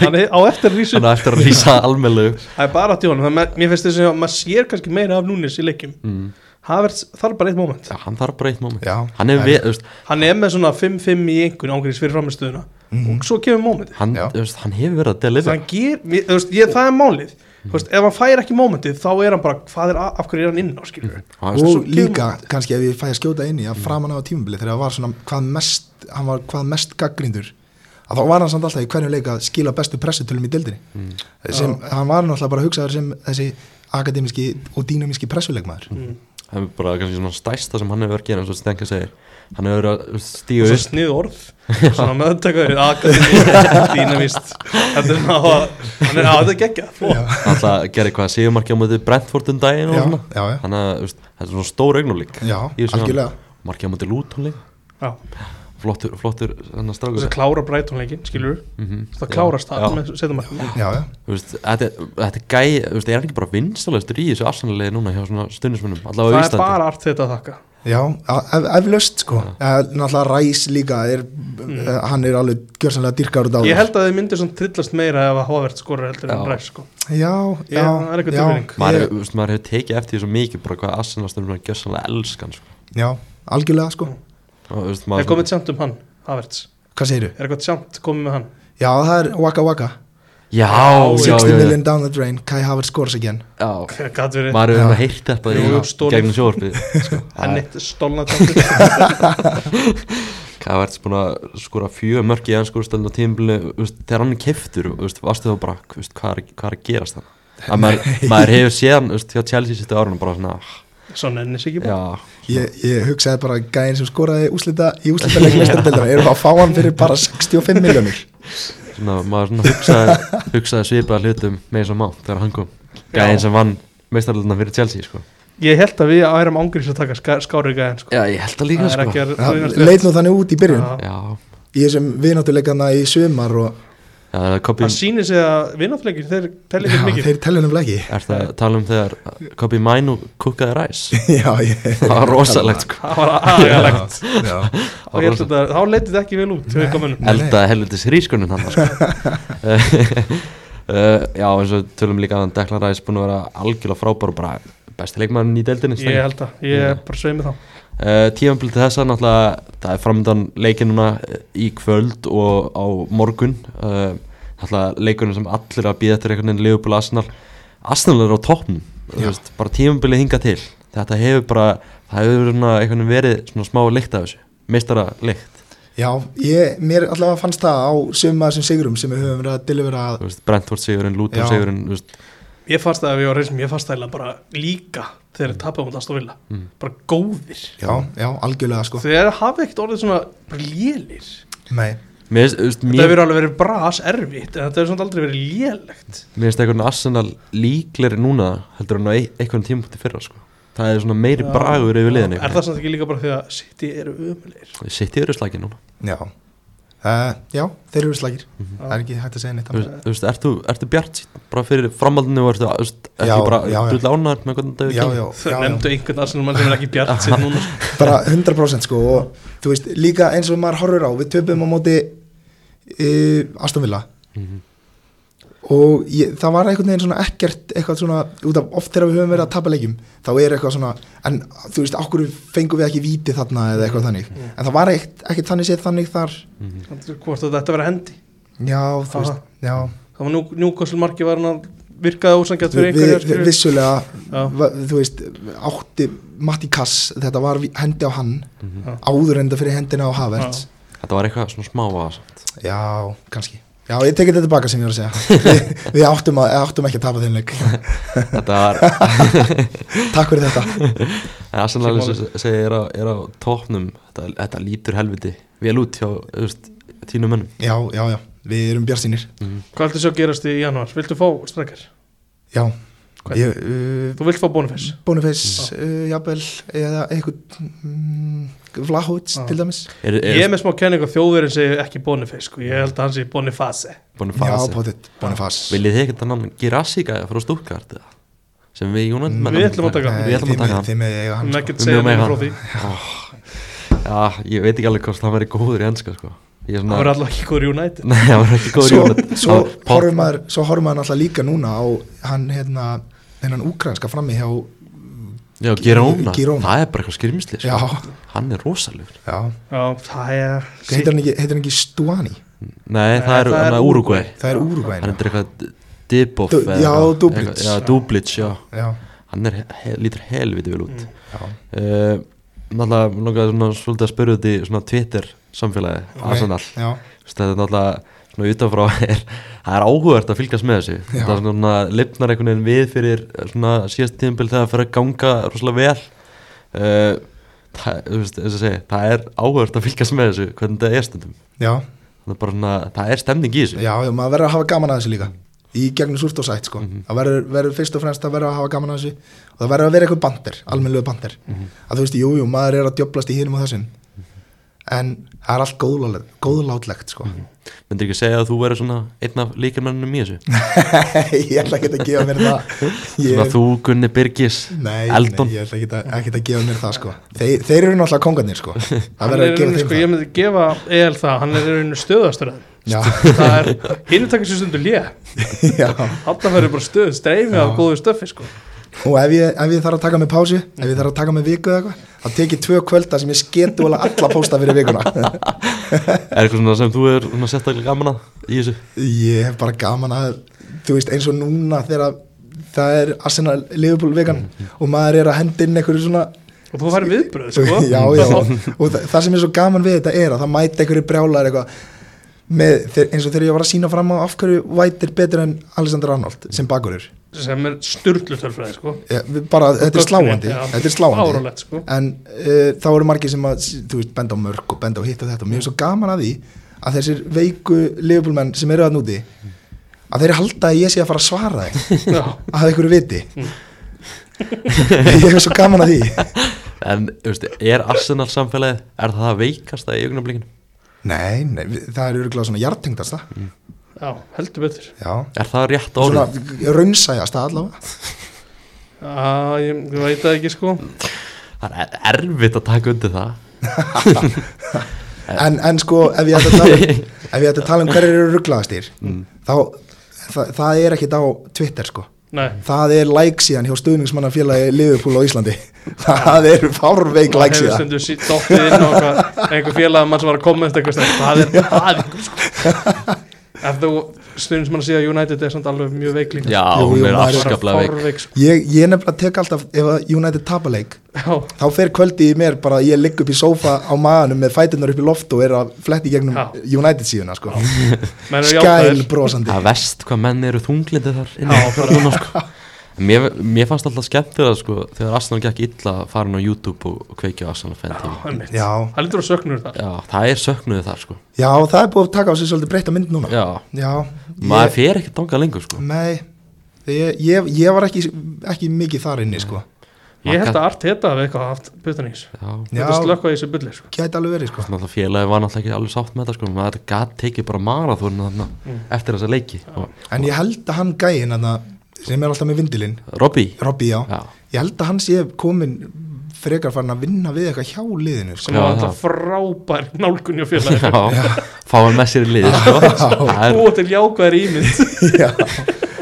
Hann er á eftir rísu
þannig að eftir að rýsa almennlegu
Það er bara að djónum, mér finnst þess að maður sér kannski meira af núnis í leikjum
mm.
Havertz þarf bara eitt moment
Já, hann þarf bara eitt moment
já
hann er, við, þú veist,
Hann er með svona 5-5 í einhvern ángriðis fyrir framistöðuna og svo kemur momentið
hann,
Já.
þú veist, hann hefur verið að deliver
Þannig ger, mér, þú veist, ég, það er málið Þú veist, ef hann fær ekki momentið þá er hann bara, hvað er, að- af hverju er hann inn á skilur
Hann-
og
svo kemur-
líka, kannski ef ég fæ að skjóta inn í að framan á tímubili þegar það var svona hvað mest, hann var hvað mest gaggrindur að þá var hann samt alltaf í hverju leik að skila bestu pressutölum í dildinni sem, hann var náttúrulega bara að hugsa sem þessi akademiski og dýnamíski pressuleikmaður
það er bara kannski svona stæsta sem hann hefur verið að gera eins og Stenka segir hann hefur verið að
og
stíga
svo
upp
snið orð svona meðtakaður, akademi dýnamist, þetta er svona hann er aðeins geggja
alltaf gerði hvað síðumarki á móti Brentford um daginn og
Já,
svona
já, já.
þannig að þú veist, þetta er svona stór augnúlík
Já, algjörlega
marki á móti Luton líka flottur, flottur hann að
þess
stráka
að klára breytónleikin, skilur
Mhm.
það klárast það með setjum að
Já, já,
veist, þetta, er- þetta er gæi, þú veist, er hann ekki bara vinstalaustur í þessu afsanlega núna hjá svona stundismunum allavega á
það er
Íslandi
bara allt þetta að þakka
já, a- ef- eflaust sko Eh, Náttúrulega Ræs líka er, eh, hann er alveg gjörsanlega dyrkar út á
ég
þér.
held að þið myndir svona trillast meira ef að Havert skorur heldur en
Já.
Ræs sko.
Já,
Ég-
já,
það er einhver
já,
tilfinning.
maður,
ég-
hefur- þú veist, maður hefur tekið eftir því svo mikið bara hvað afsanlega gjössanlega elskan sko.
já, algjörlega sko
Mm.
og þú veist,
er
maður
komið tjámt um hann, Havertz
Hvað segirðu?
er eitthvað tjámt komið með hann
Já, það er Waka Waka
já, já,
60
já, já,
million down the drain, Kai Havertz scores again
já.
hver gat verið
maður
Já.
hefur heirt þetta í
Jú, stórið.
gegnum sjóarpið sko.
hann eitt stólna tjámt
hvað verðs búin að skora fjög mörk í ennsku úrstöldin á tímbilinu þú veist, þegar hann er keiftur, varstu þá bara þú veist, hvað, er, hvað er að gerast þannig að maður, maður hefur séðan þú veist, hjá Chelsea sýttu árunum bara svona ah,
svo nennis ekki bara
já,
Ég, ég hugsaði bara gæðin sem skoraði úslita, í úslitaleg mestardildar eru að fá hann fyrir bara 65 miljonir
svona, maður svona hugsaði, hugsaði svipaða hlutum með eins og má þegar hann kom gæðin sem vann meistarlöfna fyrir Chelsea sko.
ég held að við ærum ángriðs að taka ska- skárið gæðin sko.
já, ég held að líka
það er
sko.
ekki að
Leit nú þannig út í byrjun
Já.
já,
Í þessum vináttuleikana í sumar og
Já, það er Kobe,
það sýnir sig að vinnafleikin þeir telli fyrir mikið
þeir telja nefnilega ekki
er það að tala um þegar Kobe Mainu kukkaði ræs
Já, ég,
Það var rosalegt sko
það var aðeins
Já,
Það var rosalegt
þá leitið þetta ekki vel út hjá ykkar mönnum.
Nei.
Eldaði helvitis hrískunin hann sko Uh, já, eins og tölum líka um að Deklan Ræs búin að vera algjörlega frábær og bara besti leikmann í deildinni
ég held að, ég er bara sveið með þá
uh, tímanbili til þessa náttúrulega það er framöndan leikin núna eh, í kvöld og á morgun uh, náttúrulega leikunum sem allir að býða eftir einhvern veginn Liverpool Arsenal Arsenal er á toppnum þú
Já.
veist, bara tímanbili hinga til þetta hefur bara, það hefur svona einhvern veginn verið svona smá lykt af þessu meistara lykt,
já ég, mér allavega fannst það á sömum að þessum sigurum sem við höfum verið að delivera
þú veist, Brentford sigurinn Luton
Já.
sigurinn, þú veist,
ég fannst það að við varum reysum, ég fannst það eiginlega bara líka þegar þeir tapja mútið aðstof vilja
Mm.
bara góðir
Já, já, algjörlega sko
þeir hafa ekkert orðið svona bara lélir
Nei,
mér finnst, þú veist,
þetta
mér
hefur alveg verið bras erfitt en þetta hefur svona aldrei verið lélegt
mér finnst einhvern Arsenal líkleri núna heldur hann á ein- einhvern tímapunkti fyrra sko. það er svona meiri
Já.
bragur yfir liðinni
er það samt ekki líka bara því að City eru ömulegir
sitt í öru slagi núna
já uh, Já, þeir eru slagir Það er ekki hægt að segja neitt
Þú
annað.
veist, þú veist, ertu, ertu bjart sítt bara fyrir framhaldinu og ertu, ertu, ertu
Já,
bara
já, já.
drull ánæður með hvernig
Já,
það
já,
er
þau
já, já
nefndu einhvern aðsynum mann sem er ekki bjart sér núna sko.
bara 100% sko og þú veist, líka eins og maður horfur á við töpum á móti uh, Aston Villa
Mhm.
og ég, það var einhvern veginn svona ekkert eitthvað svona, út af oft þegar við höfum verið að tapa leikjum, þá er eitthvað svona en þú veist, okkur fengum við ekki víti þarna eða eitthvað þannig,
Mm.
en það var ekkert, ekkert þannig séð þannig þar,
mhm.
hvort að þetta verið hendi
já, þú
Aha.
veist já,
það var nú, njúkoslu marki var hann að virkaði ósangjart
við,
fyrir
við,
einhverja
við,
skilur.
vissulega
Já.
va- þú veist, átti Matti Kass, þetta var ví- hendi á hann
Já.
áður enda fyrir hendina á Havertz
Mhm. Já.
þetta var eitthvað svona smá aðsamt
Já, kannski Já, ég tekið þetta tilbaka sem ég var að segja Við, við áttum, að, áttum ekki að tapa þeim leik
þetta var,
Takk fyrir þetta
en Arsenal eins og ég segi er á, er á tóknum þetta, þetta lítur helviti vel út hjá þú veist, tínu mönnum
Já, já, já, við erum bjarsinir
hvað heldur svo að gerast í januar, viltu fá strekkar
Já,
Hvað?
ég, uh,
þú vilt fá Boniface
Boniface, uh, Jabel eða eitthvað mm, Vlahovic
Já.
til dæmis
er,
ég er
er
með smá kenning og þjóðverðin segir ekki Boniface sko. ég held að hann segir Boniface
búin að
Já,
fara sig
potið, Boniface
viljið þið ekkert annan Girasika frá Stuttgart eða? sem við Jónan
Við ætlum að taka hann.
við ætlum að taka hann
Þeim með eiga hann
hann
sko.
ekkert
Við
segja
mjög með
mér frá
hann.
því
já, ég veit ekki alveg hvort það væri góður í enska sko. ég er
hann
svona
verður alltaf ekki góður í United
nei, það var ekki góður í
Svo,
Jónan
svo horfum maður, svo horfum maður alltaf líka núna á hann, hérna, hennan úkrainska frammi hjá
já, Girona,
Girona.
það er bara eitthvað skirmisli
Já,
sko. hann er rosalegur
já
Já, það er
Heitir hann ekki, heitir hann ekki Stuani?
Nei, það er, það er Uruguay
Það er Úrugvæn
Hann er eitthvað Diboff
Du-
eða
já,
eitthvað-
Dublitz.
eitthvað- Já, Dublitz, já
Já,
Hann er, he, lítur helviti vel út
já
uh, Náttúrulega, mér langaði svona svolítið að spyrja út í svona Twitter samfélagi
Ok,
Arsenal
Já,
Þú veist, Þetta er náttúrulega svona utanfrá er, það er áhugavert að fylgjast með þessu
Já.
Það er svona lifnar einhvern veginn við fyrir eh, svona síðast tíðanbíl þegar það fyrir að ganga rosalega vel uh, það, þú veist, eins og segi, það er áhugavert að fylgjast með þessu hvernig þetta er stundum
já,
Það er bara svona, það er stemning í þessu
já, já, maður verður að hafa gaman að þessu líka í gegnum súrt og sætt sko
Mhm.
það verður, verður fyrst og fremst að verður að hafa gaman að þessu og það verður að vera eitthvað bandir,
Mhm.
almennilegu bandir að þú veist, jú, jú, maður er að djöblast í hinum og þessum
Mhm.
en það er allt góðlálegt, góðlátlegt sko
Mhm. Myndir ekki segja að þú verður svona einn af líkilmennunum í þessu?
ég ætla ekki að gefa mér það
Svona
ég,
þú, Gunni Birgis,
nei,
Eldon
nei, ég ætla ekki að, ekki að gefa mér það sko þeir, þeir eru náttúrulega kongarnir sko það
Hann er
verður að
í
gefa
rauninu,
þeim
sko, ég myndi gefa EL það, hann er í rauninu stöðastur að þeim.
það
það er, hinn takkir sér stundu lé
já, já
alltaf verður bara stöð, streymi af góðu stöfi sko.
Og ef ég, ef ég þarf að taka mig pási, ef ég þarf að taka mig viku eða eitthvað, þá tek ég tvö kvölda sem ég sketu alveg alla pósta fyrir vikuna.
Er eitthvað svona sem þú er svona sérstaklega gaman að í þessu?
ég hef bara gaman að, þú veist, eins og núna þegar það er Arsenal Liverpool vikan og maður er að henda inn einhverju svona,
og þú færi viðbröð sko.
já, já, og það, það sem er svo gaman við þetta er að það mæta einhverju brjálar eitthvað, með, þeir, eins og þegar ég var að sína fram á af hverju White er betur en Alexander Arnold sem bakurur.
sem er styrlu tölfræði sko.
Ég- bara, þetta er sláandi,
Já.
þetta er sláandi.
Fáránlegt, sko.
en uh, þá eru margir sem að þú veist, benda á mörg og benda á hitt og þetta og mér er svo gaman að því að þessir veiku liðbúlmenn sem eru að núti að þeir halda að ég sé að fara að svara þeim
Já.
að einhverju viti ég er svo gaman að því
En, þú veist, er Arsenal samfélagið, er það það veikasta í augnablikinu?
nei, nei, við- það er örgulega svona jartengdasta
já, heldur betur
já,
Er það rétt
svona
orð?
raunsæjast að allavega
Já, ég, ég veit það ekki sko
Það er erfitt að taka undir það
en, en sko, ef ég ætti að tala um, ef ég ætti að tala um hverjir eru rugglaðastir þá, það, það er ekkit á Twitter sko
Nei,
Það er like síðan hjá stuðningsmannafélagi Liverpool á Íslandi Það er fárveik like
hefur
síðan
stundu sí- dottið inn á eitthvað- einhver félagamann sem var að koma eftir eitthvað sterkt. það er aðeins sko. ef þú stundum sem að sé að United er samt alveg mjög veik líka
Já,
Jú,
hún
jú,
er
maður er-
afskaplega veik
veik sko.
Ég, ég nefnilega tek alltaf ef að United tapaleik
Já,
þá fer kvöldi í mér bara að ég ligg upp í sófa á maðanum með fætunar upp í loft og er að fletti í gegnum
Já.
United síðuna sko.
menn eru
skæl
jákvæðir.
brosandi
Það vest hvað menn eru þunglindi þar inni
Já,
á núna sko Mér, mér fannst alltaf skemmt þegar sko, þegar Arsenal gekk illa að fara inn á YouTube og, og kveikja á Arsenal fan tíma
Einmitt.
já,
Það lítur að söknur þar
Já, það er söknuði þar sko
já, það er búið að taka á sig svolítið breytta mynd núna
Já,
já
maður
ég,
fer ekki danga lengur sko
nei, ég, ég, ég var ekki, ekki mikið þar inni sko.
Ég held
Maður
að Art heta hafi eitthvað haft putan í þessu
gat- Já,
Já.
Þetta slökka í þessu bulli sko.
gæti alveg verið sko.
Þannig að félagi var náttúrulega ekki alveg sátt með þetta sko, maður gæti tekið bara marathónu þarna
Mm.
eftir þessa leiki. Og,
en ég held að hann gæin þarna, sem er alltaf með vindilinn
Robby,
Robby, já.
Já.
Ég held að hann sé komin frekar farin að vinna við eitthvað hjá liðinu sko.
Já,
sem var
það.
alltaf frábær nálgunni á félagi
já, fáið með sér í liði sko, það er,
og til jákvæðir ímynd
Já.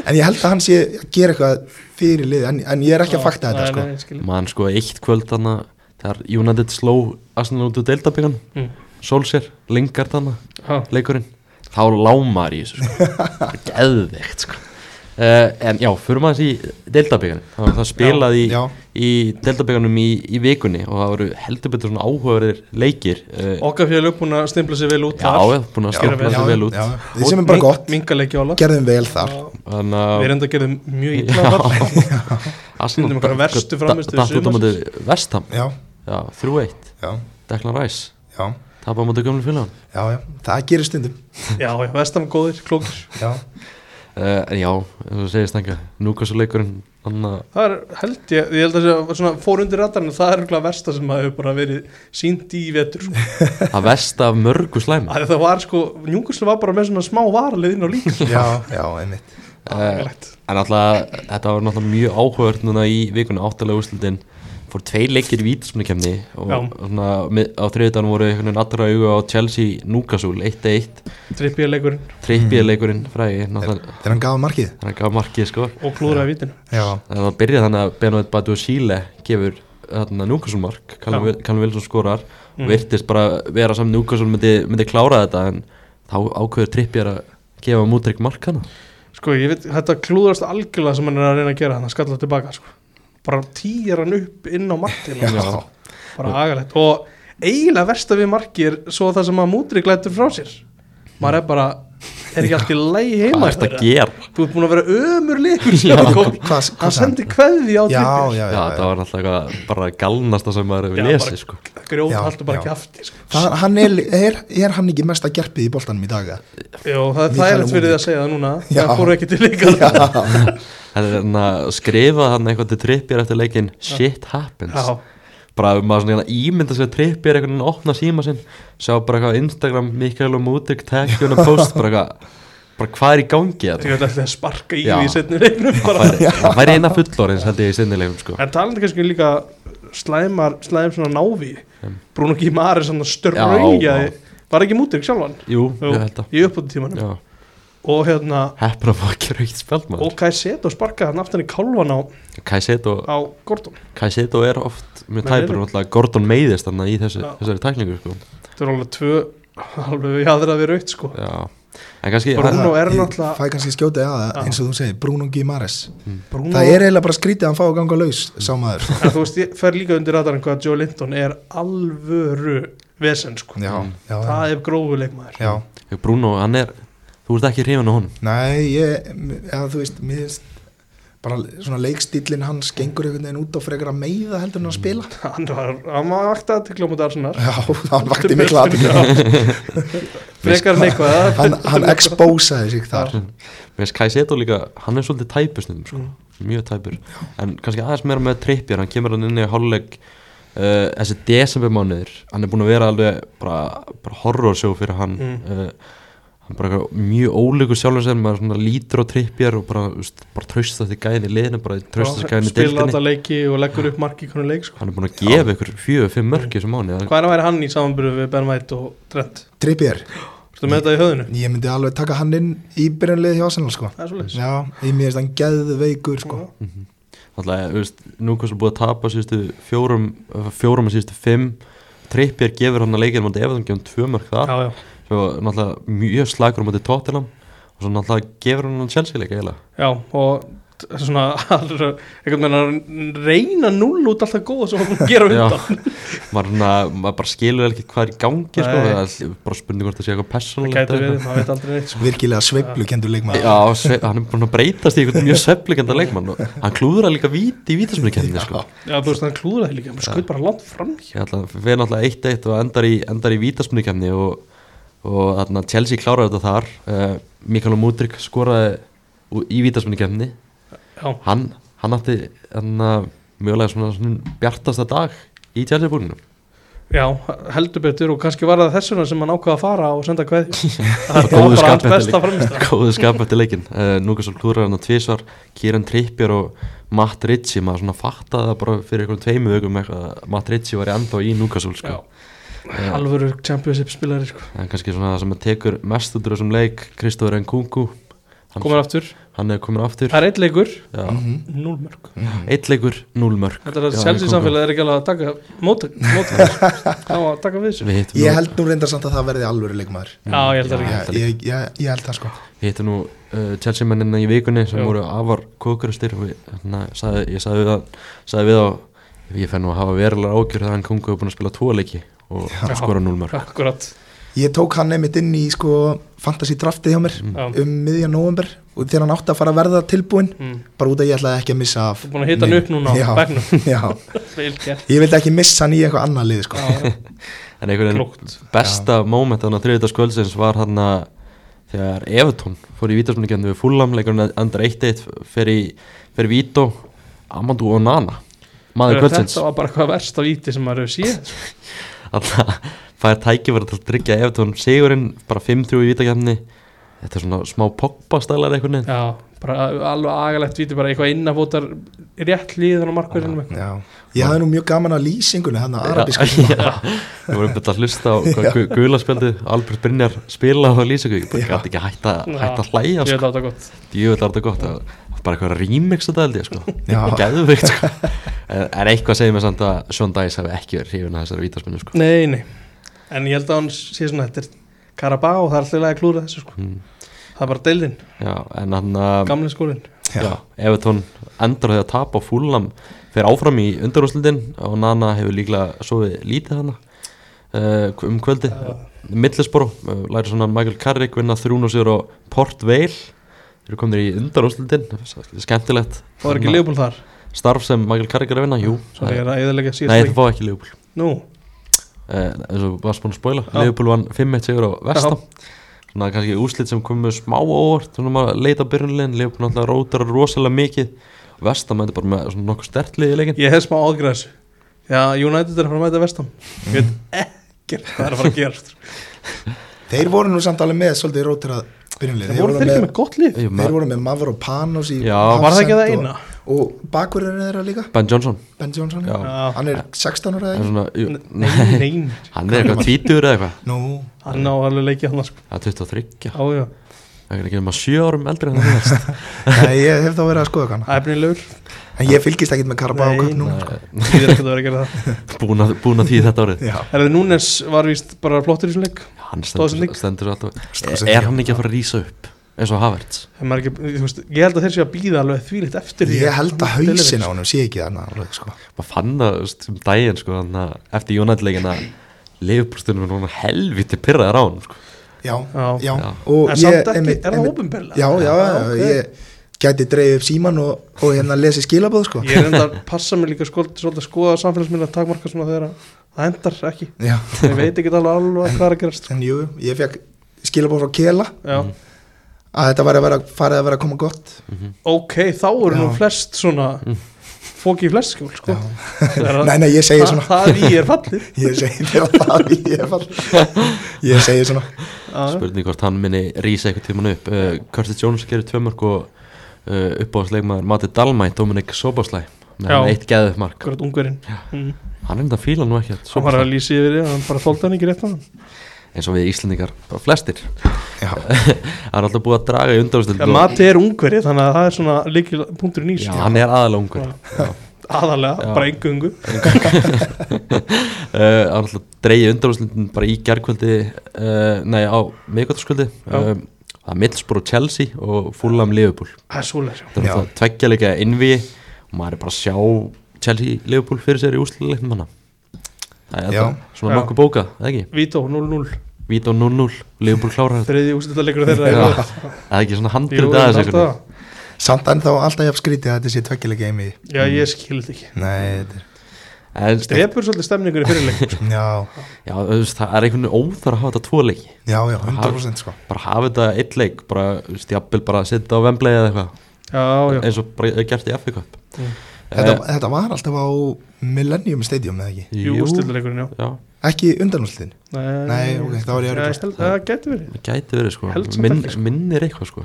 En ég held að hann sé að gera eitthvað fyrir liði en, en ég er ekki að fakta þetta sko.
sko.
mann sko eitt kvöld þarna, þegar United sló Arsenal út úr deildabíkan,
Mm.
Solskjær, Lingard þarna,
Já,
leikurinn, þá lámar í þessu sko, geðveikt sko. Uh, en já, fyrir maður þessi í deildabíkanum, það, það spilaði í,
Já.
í deildabíkanum í, í vikunni og það voru heldur betur svona áhugaverðir leikir uh,
okkar félag búin að stimpla sér vel út
Já,
þar
já, búin að
Já,
skemmla
já,
sér vel út
já. Því sem er bara gott,
Mingalegi ála
gerðum vel þar
Við
Þannig
erum þetta að gera mjög illa
að
þar
Arsenal
Sýndum okkar verstu frammistöðu
Datt út á móti Vestham
Já,
Já, 3-1
já,
Declan Rice
já,
Tapa á móti gömlu félagann
já, já. Það gerir stundum
Já, já, vestam góðir, klókir
Já,
uh, En já, eins og segist enga Núkassu leikurinn Þannig að
Það er, held ég, ég held að það sé svona fór undir radarinn og það er eitthvað versta sem maður hefur bara verið sínt í í vetur sko.
það vest af mörgu slæma
Af því Það var sko, Njúkurslu var bara með svona smá varalið inn á líka
já, já, einmitt
uh, En alltaf, þetta var náttúrulega mjög áhugavert Núna í vikunni áttalega úrslutin Fór tvei leikir í vítaspunarkemni og
Já.
svona, mið- á þriðutan voru einhvern veginn allra auga á Chelsea Núkasúl 1-1,
Trippið leikurinn
trippið leikurinn fræði, náttúrulega
Þegar hann gaf markið
hann gaf markið sko
og klúðraði vítinu
Já,
En það byrja þannig að Benoit Batu Síle gefur þarna Newcastle mark
Já.
Callum Wilson skorar
Mm.
og virtist bara vera saman Newcastle myndi, myndi klára þetta en þá ákveður trippjar að gefa mútrygg mark hana
Sko, ég veit, þetta klúðrast algjörlega sem hann er að reyna að gera hann að skalla tilbaka sko. bara týjar hann upp inn á markið sko.
já,
bara agalegt og eiginlega versta við marki er svo það sem að mútri glættur frá sér maður er bara, er ekki allt í lægi
Hvað
heima
er þetta
þeirra?
að gera?
þú ert búin að vera sko. ömurleikur að
Hvað- hvað
sendi kveði á
já,
trippir
já,
Já,
já,
það var alltaf eitthvað bara galnasta sem maður hefur
Já,
lesið
bara-
sko
grjóð
Já,
haldur bara
já.
kjafti sko.
Það, hann er, er, er hann ekki mesta gerpið í boltanum í dag? eða?
Jó, það er
Mikael
þægilegt fyrir því
Múdrik.
að segja það núna
Já.
það fór ekki til líka
Það er þannig að skrifa þannig eitthvað til trippjar eftir leikin Shit happens
Já.
bara ef maður svona hérna ímynda sér trippir einhvern veginn að opna síma sinn sjá bara eitthvað á Instagram Mikael og Mútik taggjóna post bara eitthvað bara hvað er í gangi
ég
þetta
ætla alltaf að sparka í
Já.
því setni leiknum bara
Væri- það væri eina fullorins held ég í sinnilegum sko
En talandi kannski um líka slæmar, slæm svona návi Bruno Gimari svona ströyja
Já,
Var ekki mútið sjálfan
jú,
Jú,
ég held að
Í uppbúttu tímanum
já.
Og hérna,
heppin að fá ekki raukt spjald
og
maður
Kajseto sparkaði hann aftan í kálvan á,
Kajseto,
á Gordon
Kajseto er oft mjög
Nei,
tæpur
nei.
og alltaf Gordon meiðist þannig í þessu,
Já.
þessari tækningu sko
Þetta er alveg tvö alveg jáður að vera aukt sko
já en kannski
Bara- Bruno er
Ég
náttúrulega-
Fæ kannski skjótið að það,
Já.
eins og þú segir, Bruno Guimares
Bruno,
Það er eiginlega bara skrítið að hann fá að ganga laus, sá maður
En þú veist, ég fer líka undir radarinn hvað Joe Linton er alvöru vesen sko
Já, já, já,
Það er grófuleikmaður
já.
Ég, Bruno, hann er þú ert ekki hrifin á honum
Nei, ég, eða þú veist, mér finnst bara svona leikstýlinn hans gengur einhvern veginn út á frekar að meiða heldur en að spila
Hann var, hann var vaktað til glómut Arsenal
Já, hann vakti mikla aðtökla
Frekar neikvæða
Hann, hann expósaði sig þar
Mér finnst Kajseto líka, hann er svolítið tæpur stundum sko,
Mm.
mjög tæpur en kannski aðeins meira með trippjör, hann kemur hann inn í hálfleik uh, þessi desembermánuður hann er búin að vera alveg bara, bara horrorsjó fyrir hann
Mm.
mm. hann bara eitthvað mjög ólíku sjálfum sem maður svona lítur á trippjar og bara, þú veist, bara traustast í gæðin í liðinu bara traustast í gæðin í
spila
deildinni
alla leiki og leggur upp marki í hvernig leik sko.
hann er búin að gefa ykkur fjögur, fimm
Mm.
mörki sem áni
hvað er að væri hann í samanbyrðu við Ben White og Trent
Trippier,
Þú með þetta í höðinu?
ég myndi alveg taka hann inn í byrjunlið hjá Arsenal sko
Það er svolítið
Já, ég mér finnst hann geðveikur sko
Þannig að, veist, nú hversu búið að tapa síðustu fjórum, eh, fjórum að síðustu fimm Trippjar gefur hann að leikin mútið Everton gefur hann tvö mörg það
Já, já,
svo náttúrulega mjög slagur mútið Tottenham og svo náttúrulega gefur hann hann Chelsea leika eiginlega
já og t- svona allra, einhvern veginn að reyna null út alltaf góða sem hún gera
Já.
undan
maður, svona, maður bara skilur ekki hvað er í gangi sko,
Nei.
það er bara spurning hvort það sé eitthvað
það
persónulegt
gæti
eða
verið,
eitthvað.
maður veit aldrei neitt sko.
Virkilega sveiflu kendur leikmaður
Já, sve, hann er búin að breytast í einhvern mjög svefligenda leikmann og hann klúður að líka víti í vítasmyrkenni sko.
Já, þú veist, hann klúður það líka, hann skauð bara langt fram
Ég ætla að fyrir náttúrulega eitt eitt og endar í, endar í vítaspunnikefni og, og þarna Chelsea klárar þetta þar uh, Mikael Múdrik skoraði ú- í vítaspunnikefni
Já,
hann, hann átti hann, mjögulega svona, svona bjartasta dag í Chelsea búinu
já, heldur betur og kannski var það þessuna sem hann ákvaða að fara og senda hvað
Og
Það
góðu
var bara hans
skapið
besta
líka.
framist
góðu skap eftir leikin uh, Núkasól klúrar hann að tvísvar Kieran Trippjör og Matt Ritchie maður svona fattaði það bara fyrir einhverjum tveimu vögum eitthvað að Matt Ritchie var í enda í Núkasól sko.
Já, alvöru championship spilari sko.
en kannski svona það sem að tekur mest út úr þessum leik Kristóður Nkunku hann,
Komur aftur,
hann er komin aftur
það er eitt leikur,
Já,
Mhm.
null mörg
eitt leikur, núl mörg
Þetta er
Hm?
að
Já,
Chelsea
kom- kom.
samfélagið er ekki alveg að taka móta, móta á að taka við þessu
Við hittum
Ég
nú,
held nú reyndar samt að það verði alvöru leikmaður
Já, ég held það
Já.
ekki
Ég, ég, ég, ég held það sko
við hittum nú uh, Chelsea mennina í vikunni sem
Já.
voru afar kókurastir og við, hérna, sagði, ég sagði við, að, sagði við á ég fenn nú að hafa verulega ágjör þegar hann kongu hefur búin að spila tvo leiki og
Já.
skora núl mörg
Akkurat,
Ég tók hann einmitt inn í sko fantasy draftið hjá mér
já
Mm.
um miðja november og þegar hann átti að fara að verða tilbúinn
Mm.
bara út að ég ætlaði ekki að missa af
Þú er búin að hita hann
Nei.
upp núna á
Já.
begnum
Já,
Vel gert
ég vildi ekki missa hann í eitthvað annað lið sko
Já,
en einhvern veginn
Klókt
besta moment þannig að þriðvita skvöldsins var hann að þegar Evertón fór í vítarsmyndikefni við Fulham, leikurinn endar 1-1 fyrir, fyrir Vító Amadou Onana, maður kvöldsins
Þetta var bara hvað verst af íti sem maður hefur séð sko.
þannig að fær tækifæri til að tryggja Evertón sigurinn, bara 5-3 í vítakefni þetta er svona smá Pogba stælar einhvern veginn
Já, bara alveg agalegt víti bara eitthvað innafótar rétt líð þannig markverðinum eitthvað
Já, ég hafði nú mjög gaman að lýsingunni hann að arabíska
Já, já. Við vorum betur að hlusta á hvað gu- gula spjaldið Albert Brynjar spila á lýsingu Ég bara
Já.
gæti ekki að hætta,
Já.
hætta að hlæja
Ég
sko.
veit á þetta gott
Jú, þetta er þetta gott að bara eitthvað remix þetta held ég sko.
Já.
Gæðveikt sko. en, en eitthvað segir mér samt að Sean Dice hafi ekki verið hrifin að þessari vítarspennu sko.
Nei, nei En ég held að hann sé svona Þetta er Karabá og það er alltaf að klúra þessu sko.
Mm.
Það er bara deildin,
Já, en hann um, að
gamli skólin
Já, Evertón endur því að tapa og fúlam fer áfram í undarúslindin og Nana hefur líklega sofið lítið hana uh, um kvöldi uh. Middlesboro, uh, læri svona Michael Carrick vinna þrún og sigur á Port Vale þeir eru komin í undarúslindin skemmtilegt
Það var ekki
Svona
liðbúl þar
starf sem Michael Carrick er að vinna, jú
Svo ég er að eðalega
Nei,
síðast
það
leik
fá ekki Leopold
Nú,
uh, eins og varst búin að spoila
Já.
Leopold vann 5-1 sigur á Vestam svona kannski úslit sem komu smá óvart svona maður leita byrjunlegin Leopold náttúrulega rótar rosalega mikið Vestam þetta er bara með svona nokkuð stertlið í leikin
ég hef smá áðgræð þessu Já, United er að fara að mæta vestam Ég veit ekkert hvað er að fara að gera sko.
Þeir voru nú samt alveg með svolítið rótirað byrjunlið
Það voru þeir ekki með gott lið
Ég,
Þeir
ma-
voru með Mavropanos í
Já.
Hafsend
Var það ekki það
og-
eina?
Og bakverðin er þeirra líka,
Ben Johnson
Ben Johnson
Já.
Já.
Hann er 16 ára
er
eða
svona, jú,
Nei, nei,
hann er eitthvað tvítur eða eitthvað
Nú,
hann á alveg leikið hann sko.
það er 23
Já, já,
það er ekki um að 7 árum eldri en það er
Nei, ég hef þá verið að skoða hana
efnilegur
En ég fylgist ekkit með Karabá
Nei,
Cup núna
nei.
sko.
Ég er ekkert að vera að gera það
búin að, búin að því þetta árið
Já,
Herði Núnes var víst bara flottur í þessum leik
hann
Stóðsending.
stendur, stendur alltaf
Stóðsending,
er, er hann ekki að fara að rýsa upp eins og Havertz
Ef maður ekki, þú veist, Ég held að þeir séu að býða alveg þvílitt eftir því
ég held að
hann
hausin
deliver.
á honum sé ekki þarna alveg, sko.
maður fann það þú veist, um daginn sko, hann að- eftir United-leikin að Leifbúrstunum er núna helviti pyrraðar á hann sko.
Já,
Já.
já
Já.
Og
En
ég,
samt ekki,
einmitt-
er það
einmitt-
ópenbarlega?
Já, já, já,
ok.
ég gæti dreigð upp síman og, og hérna lesi skilabóð sko.
Ég er enda að passa mig líka skoð, svolítið að skoða samfélagsmiðla takmarka svona þegar að það endar ekki
Já,
Ég veit ekki alveg alveg hvað er að gerast sko.
en jú, ég fekk skilabóð frá Kela
Já,
að þetta var að vera, farið að vera að koma gott
ok, þá eru nú
Já.
Mm. flest svona fóki í fleskjól sko. Þegar að-
Nei, nei, ég segi
það,
svona
það í er fallið
Ég segi fyrir að það ég er fall Ég segi svona
Já,
spurning hvort hann minni rísa eitthvað tíman upp uh, Curtis Jones gerir tvö mörg og uh, uppáðsleikmaður Mati Dalmæ Dominik Soboslæ með
Já.
hann eitt geðuð mark
akkurat ungverinn Mm.
hann er þetta fíla nú ekki
Svo bara að lýsa yfir því, hann bara þóldi hann ekki rétt á hann
eins og við Íslandingar, bara flestir
Já,
hann er alltaf búið að draga í undanúrslit
ja, Mati er ungveri þannig að það er svona líkil punkturinn í
Já,
þessu.
hann er aðalega ungur
Já. aðalega,
Já.
bara engungu
uh, hann alltaf dreigja undanúrslitin bara í gerkvöldi uh, nei á miðgóttaskvöldi
Já.
um, það er Middlesbrough Chelsea og Fulham Liverpool
það er svoleiðis já.
það er
Já.
alltaf tveggja leika innví og maður er bara að sjá Chelsea Liverpool fyrir sér í úslileiknum hana það er
Já.
alltaf svona
Já.
nokkuð bókað, eða ekki
Vító 0-0,
Vít og 0-0, Liverpool klára þetta
þriði úrslitaleikur þeirra
Já.
Jú,
það er ekki svona
jú,
handrið
alltaf
aðeins einhvern
það.
veginn.
samt ennþá alltaf ég haf skrítið að þetta sé tveggilega geimi
já, ég skil þetta ekki
Nei, þetta er
en, eh,
drefur svolítið stemningunni fyrir leikum sko.
Já,
já, þú veist, það er einhvern veginn óþar að hafa þetta tvo leiki
já, já, 100% sko
bara hafa þetta eitt leik bara, þú veist, jafnvel bara að setja á vemblei eða eitthvað
já, já,
eins og bara er gert í FA Cup
Mm.
þetta,
Eh,
þetta var alltaf á Millennium Stadium eða ekki
jú, úrslitaleikurinn já.
já,
Ekki undanúsliðin Nei, ok, þá er ég
já,
örugglega.
ég held að það getur verið
það gæti verið sko
Held samt
Minn,
ekki, sko.
minnir eitthvað sko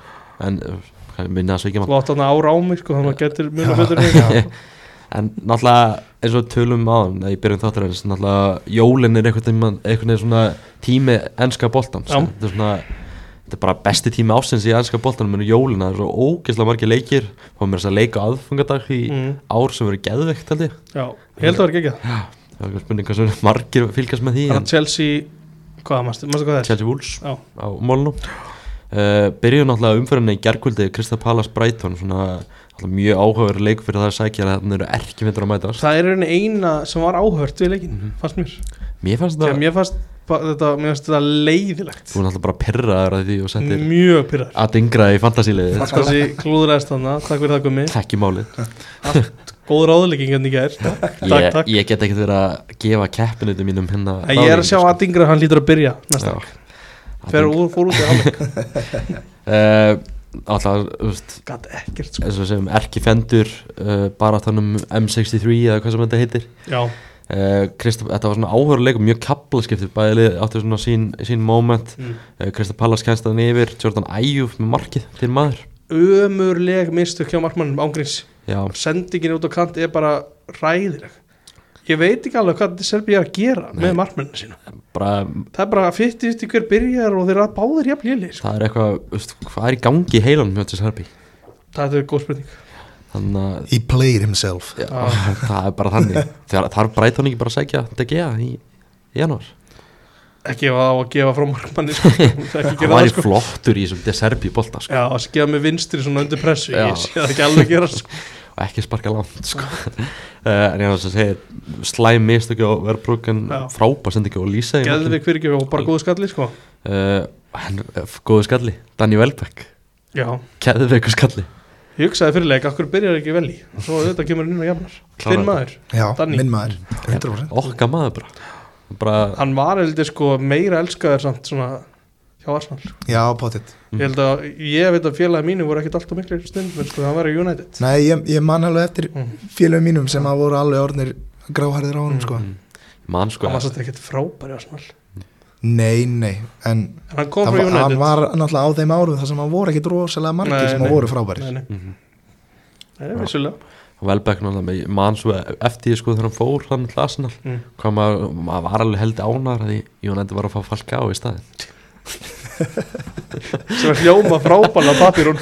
en uh, minna það svo ekki mann
þú átt þarna ára á mig sko, þannig að getur mjög betur en
Já,
ég.
en náttúrulega eins og við tölum á þann í byrjun þáttarins, náttúrulega jólin er einhvern veginn, einhvern veginn svona tími ennska boltans
Já.
þetta er svona þetta er bara besti tími ásins í ennska boltanum en jólin, það er svo ógeðslega margir leikir þá er mér þess að leika aðfungadag í
Mm,
ár sem verið geðveikt held ég
já, ég held að það er ekki það
það er eitthvað spurning hversu margir fylgjast með því
Þannig
en
að Chelsea, hvað mannstu, mannstu hvað það er?
Chelsea Wolves
Já.
á mólunum uh, byrjuðu náttúrulega umfyrinni í gerkvöldi Krista Palas Brighton svona náttúrulega mjög áhugaverið leik fyrir það að sækja að þannig eru ekki myndur að mætast
Það er einu eina sem var áhört við leikin,
Mhm.
fannst mér
mér fannst
Þegar
það,
mér fannst ba- þetta, mér fannst þetta leiðilegt
þú er náttúrulega bara pirraður að því og settir
Mjög pyrrar
að dingra í fantasíliði
Þessi klúðræðist þarna, takk fyrir það gummi
ekki málið,
Góð ráðlegging henni gær Takk,
ég,
takk
ég get ekkert verið að gefa keppinutum mínum hérna
En Ég er að sjá
ráðningu,
að Ingra, hann lítur að byrja næsta
Já.
Fer úr, fór út í hálfleik
Eh, alltaf, þú veist
Gat ekkert sko
eins og við segjum, erki fendur uh, bara þannum M63 eða hvað sem þetta heitir
Já,
uh, Krista, þetta var svona áhöruleikum mjög kaplaskiptið, bæði lið áttu svona sín, sín moment,
Mm.
uh, Krista Pallas kænst hann yfir, Jordan Æjúf með markið þinn maður,
ömurleg mistök hjá markmannum ángríns
já,
Sendingin út á kant er bara ræðileg Ég veit ekki alveg hvað Serbi er að gera
Nei.
með markmanninu sína
bara
Það er bara 50-50 hver byrjar og þeirra báðir jafn lélir sko.
það er eitthvað, veist, hvað er í gangi í heilanum hjá þessi herbi,
Það er góð spurning
þannig að
He played himself
já,
Ah.
það er bara þannig, þar, þar breyt hann ekki bara að segja DGA í í janúar,
Ekki ef það á að gefa frá markmanni sko. Ekki
hann
gera það
væri
sko
flottur í þessum Deserbi bolta, sko,
Já, að gefa með vinstri svona undir pressu
Já.
Ég sé það ekki alveg gera sko.
og ekki sparka langt, sko uh, en ég var að segja slæm mistökja og verðbrúkan
Já.
frábæð sendingu og lýsa í
Geðið við hverjum og bara góðu skalli sko.
uh, hann, uh, góðu skalli Danny Welbeck,
Já,
keðveiku skalli
ég hugsaði fyrirleik Akkur byrjar ekki vel í Svo þetta kemur hann inn og jafnar
Klárar
Þinn maður,
Já,
Danny.
minn maður
Mm.
100%
okka maður bara bara,
hann var heldur sko meira elskaður samt svona hjá Arsenal sko.
Já, potið
Ég held að ég veit að félagi mínu voru ekkit alltaf miklu stund sko, hann var í United
Nei, ég, ég man alveg eftir
Mm.
félögum mínum sem að voru alveg orðnir gráhærðir á honum
Mm.
sko
mann sko
Hann var svolítið ekkit frábæri Arsenal
Nei, nei, en
En hann kom frá
það var,
United
hann var náttúrulega á þeim árum þar sem hann voru ekkit rosalega margir
Nei,
sem
nei.
að voru frábærir
Nei, nei,
Mhm.
nei, vissulega
Welbeck náttúrulega, mann svo eftir því, sko þegar hann fór hann til Arsenal
Mm.
hvað maður, maður var alveg held ánar því Jónætti var að fá falka á í staðin
sem er hljóma frábæla papirun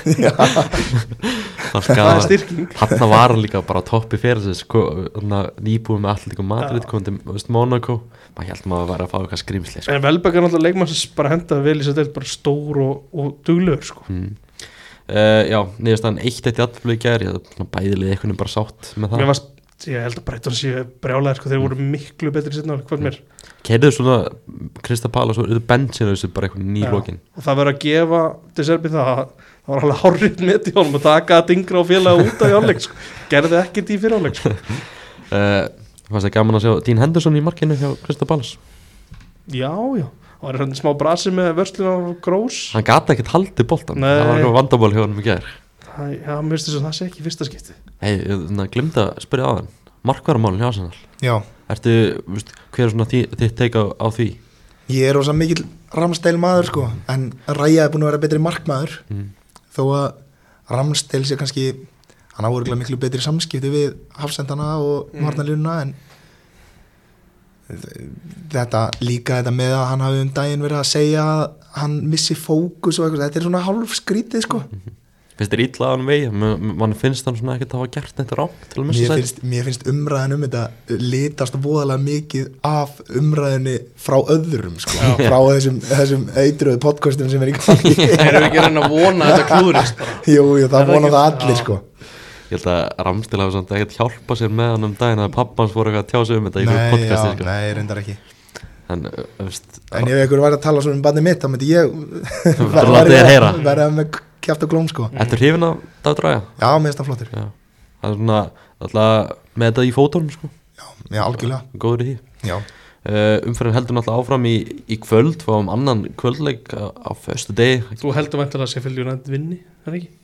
falka
það er styrking
hann var hann líka bara á toppi fyrir þess sko, nýbúið með allir líka Madrid
Já.
komum til þú veist, Monaco maður held maður að vera að fá eitthvað skrýmsli sko.
en Velbæk er náttúrulega leikmann sem bara henda vel í sér deild bara stór og, og duglegur sko.
mm. uh, já, niðurstaðan eitt eitt í allflug gæri bæðilið eitthvað bara sátt með það
mér varst, ég held að breyta hans ég brjálæði sko, þeir voru miklu betri sérna hvað mér
Keirðu svona Krista Pálas og bensin þessu bara eitthvað
Já.
nýlókin
og það verður að gefa Deserbi það að það var alveg hárrið með til honum að taka að dingra og félaga út af hjáleik sko. gerði ekkert í fyrir hjáleik sko.
uh, Fannst það gaman að sjá Dean Henderson í markinu hjá Krista Pálas
já, já, það var hann smá brasi með vörslun á grós
Hann gata ekkert haldið boltan
Nei.
Það var eitthvað vandamál hjá hann í gær
Það, já, mér finnst þess að það sé ekki í fyrsta skipti
Hei, ég glimta hérna, að spyrja á hann Markvarmálinn hjá Arsenal
já,
Ertu, veist, hver er svona þi- þitt teika á því?
ég er ósa mikill Ramstein maður sko, en Ræja er búin að vera betri markmaður
Mm.
þó að Ramstein sé kannski hann á örgulega miklu betri samskipti við hafsendana og
Mm.
varnarlínuna en þetta líka þetta með að hann hafi um daginn verið að segja að hann missi fókus og eitthvað, þetta er svona hálf skrítið sko
Finnst þér illa að hann vegi? Man finnst hann svona ekkert að hafa gert þetta rám til að missa
Mér
sæti
finnst, mér finnst umræðan um þetta litast voðalega mikið af umræðinni frá öðrum sko, frá þessum, þessum eitröðu podcastum sem er í gangi
Erum við ekki að reyna að vona að þetta klúðurist bara?
Jú, jú,
Er það
það vona
ekki-
það allir
Já.
sko
Ég held að Ramstil hafi samt ekkert hjálpa sér með hann um daginn að pappans voru eitthvað að tjá sig um þetta í einhverju
Nei, já,
podcasti sko.
nei, reyndar ekki
En, uh, veist,
En ef ykkur væri að tala svona um banni mitt, þá myndi ég
Þú látið þér heyra.
verða með kjæft og glóm sko
Ertu hrifin af dagdraga?
Já, mér finnst það flottur,
Já Það er svona, alltaf með þetta í fótónum sko
já, algjörlega
Góður í því
Já,
uh, Umferðin heldur náttúrulega áfram í, í kvöld Fáum annan kvöldleik á, á föstu degi
Þú heldur væntanlega að Sheffield United vinni, er það ekki?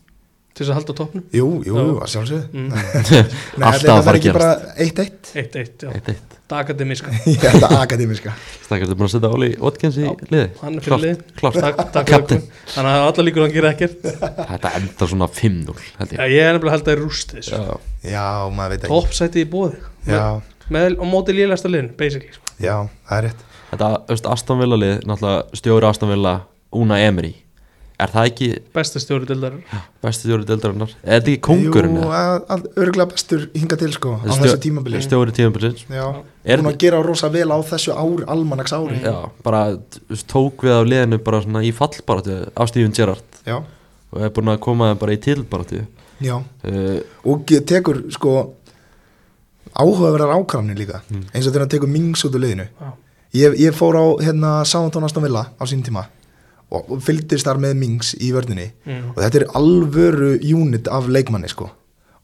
Til þess að halda topnum
jú, jú,
Já.
að sjálfsögðu
mm.
Nei,
Alltaf
ætli þetta
að fara
verði
að
ekki
gerast
bara 1-1
Eitt, eitt, já,
Eitt eitt
dagademiska
Ég held að akademiska
Stakkar, ertu búin að setja Óli Watkins í
Já,
liði?
hann er fyrir
Klárt,
liðið.
Klárt
Takk, takk
Captain.
Captain. Þannig að allar líkur að hann gera ekkert
Þetta endar svona 5-0 held
Já,
ég
ég er nefnilega að held að það er rústið
Já,
Já, maður veit ekki
sko. Toppsæti í bóði
Já,
Með og móti líðlæsta liðin, basically sko.
já, það er rétt
Þetta, veist, Aston Villa lið Náttúrulega stjóri Aston Villa Una Emery Er það ekki
Besta stjóri dildar
besti stjóri deildarinnar? Er þetta ekki kongurinn?
Jú,
eða?
að- að- örugglega bestur hinga til sko á
Stjó-
þessu tímabili Já,
Stjóri tímabilsins Er-
hún að gera rosa vel á þessu ár, almanaks ári
Já, bara t- veist, tók við af liðinu bara svona í fallbaratu af Steven Gerrard
Já,
og er búin að koma þeim bara í tilbaratu
já.
uh,
og ge- tekur sko áhugaverðar ákvarðanir líka
Mm.
eins og þegar hann tekur mings út úr liðinu ég, ég fór á hérna Soundtón Aston Villa á sín tíma og, og fylgdist þar með mings í vörninni og þetta er alvöru unit af leikmanni sko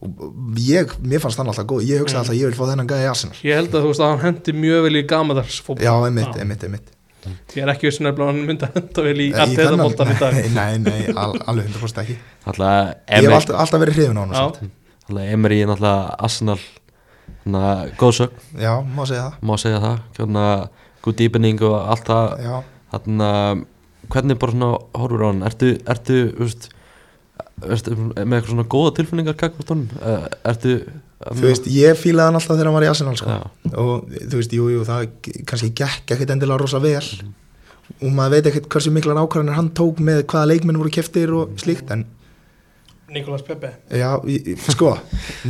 og og ég, mér fannst hann alltaf góð ég
Mm.
hugsaði alltaf að ég vil fá þennan gæði í Arsenal
Ég held að þú veist að hann hendi mjög vel í gamadars
Já, einmitt, einmitt, einmitt Eh,
Ég er ekki vissin að hann myndi að henda vel í að
þennan-
þetta bóltan í dag
Nei, nei, al, alveg 100% ekki
Alltaf
Ég hef
Emery
alltaf, alltaf verið hrifin á hann
Já,
Alltaf Emery er náttúrulega Arsenal Þannig að góðsögn,
Já, má segja það
má segja það Þannig að góð dýpening og allt það
Já,
Þannig að hvernig bara svona horfur á hann Ertu, ertu, veist Ertu með eitthvað svona góða tilfinningar kakvart honum? Eh, Ertu
þú veist, ég fílaði hann alltaf þegar hann var í Arsenal sko.
Já.
og þú veist, jú, jú, það k- kannski gekk ekkert endilega rosa vel
Mhm.
og maður veit ekkert hversu miklar ákvarðanir hann tók með hvaða leikmenn voru keftir og slíkt, en
Nikolas Pepe
já, ég- sko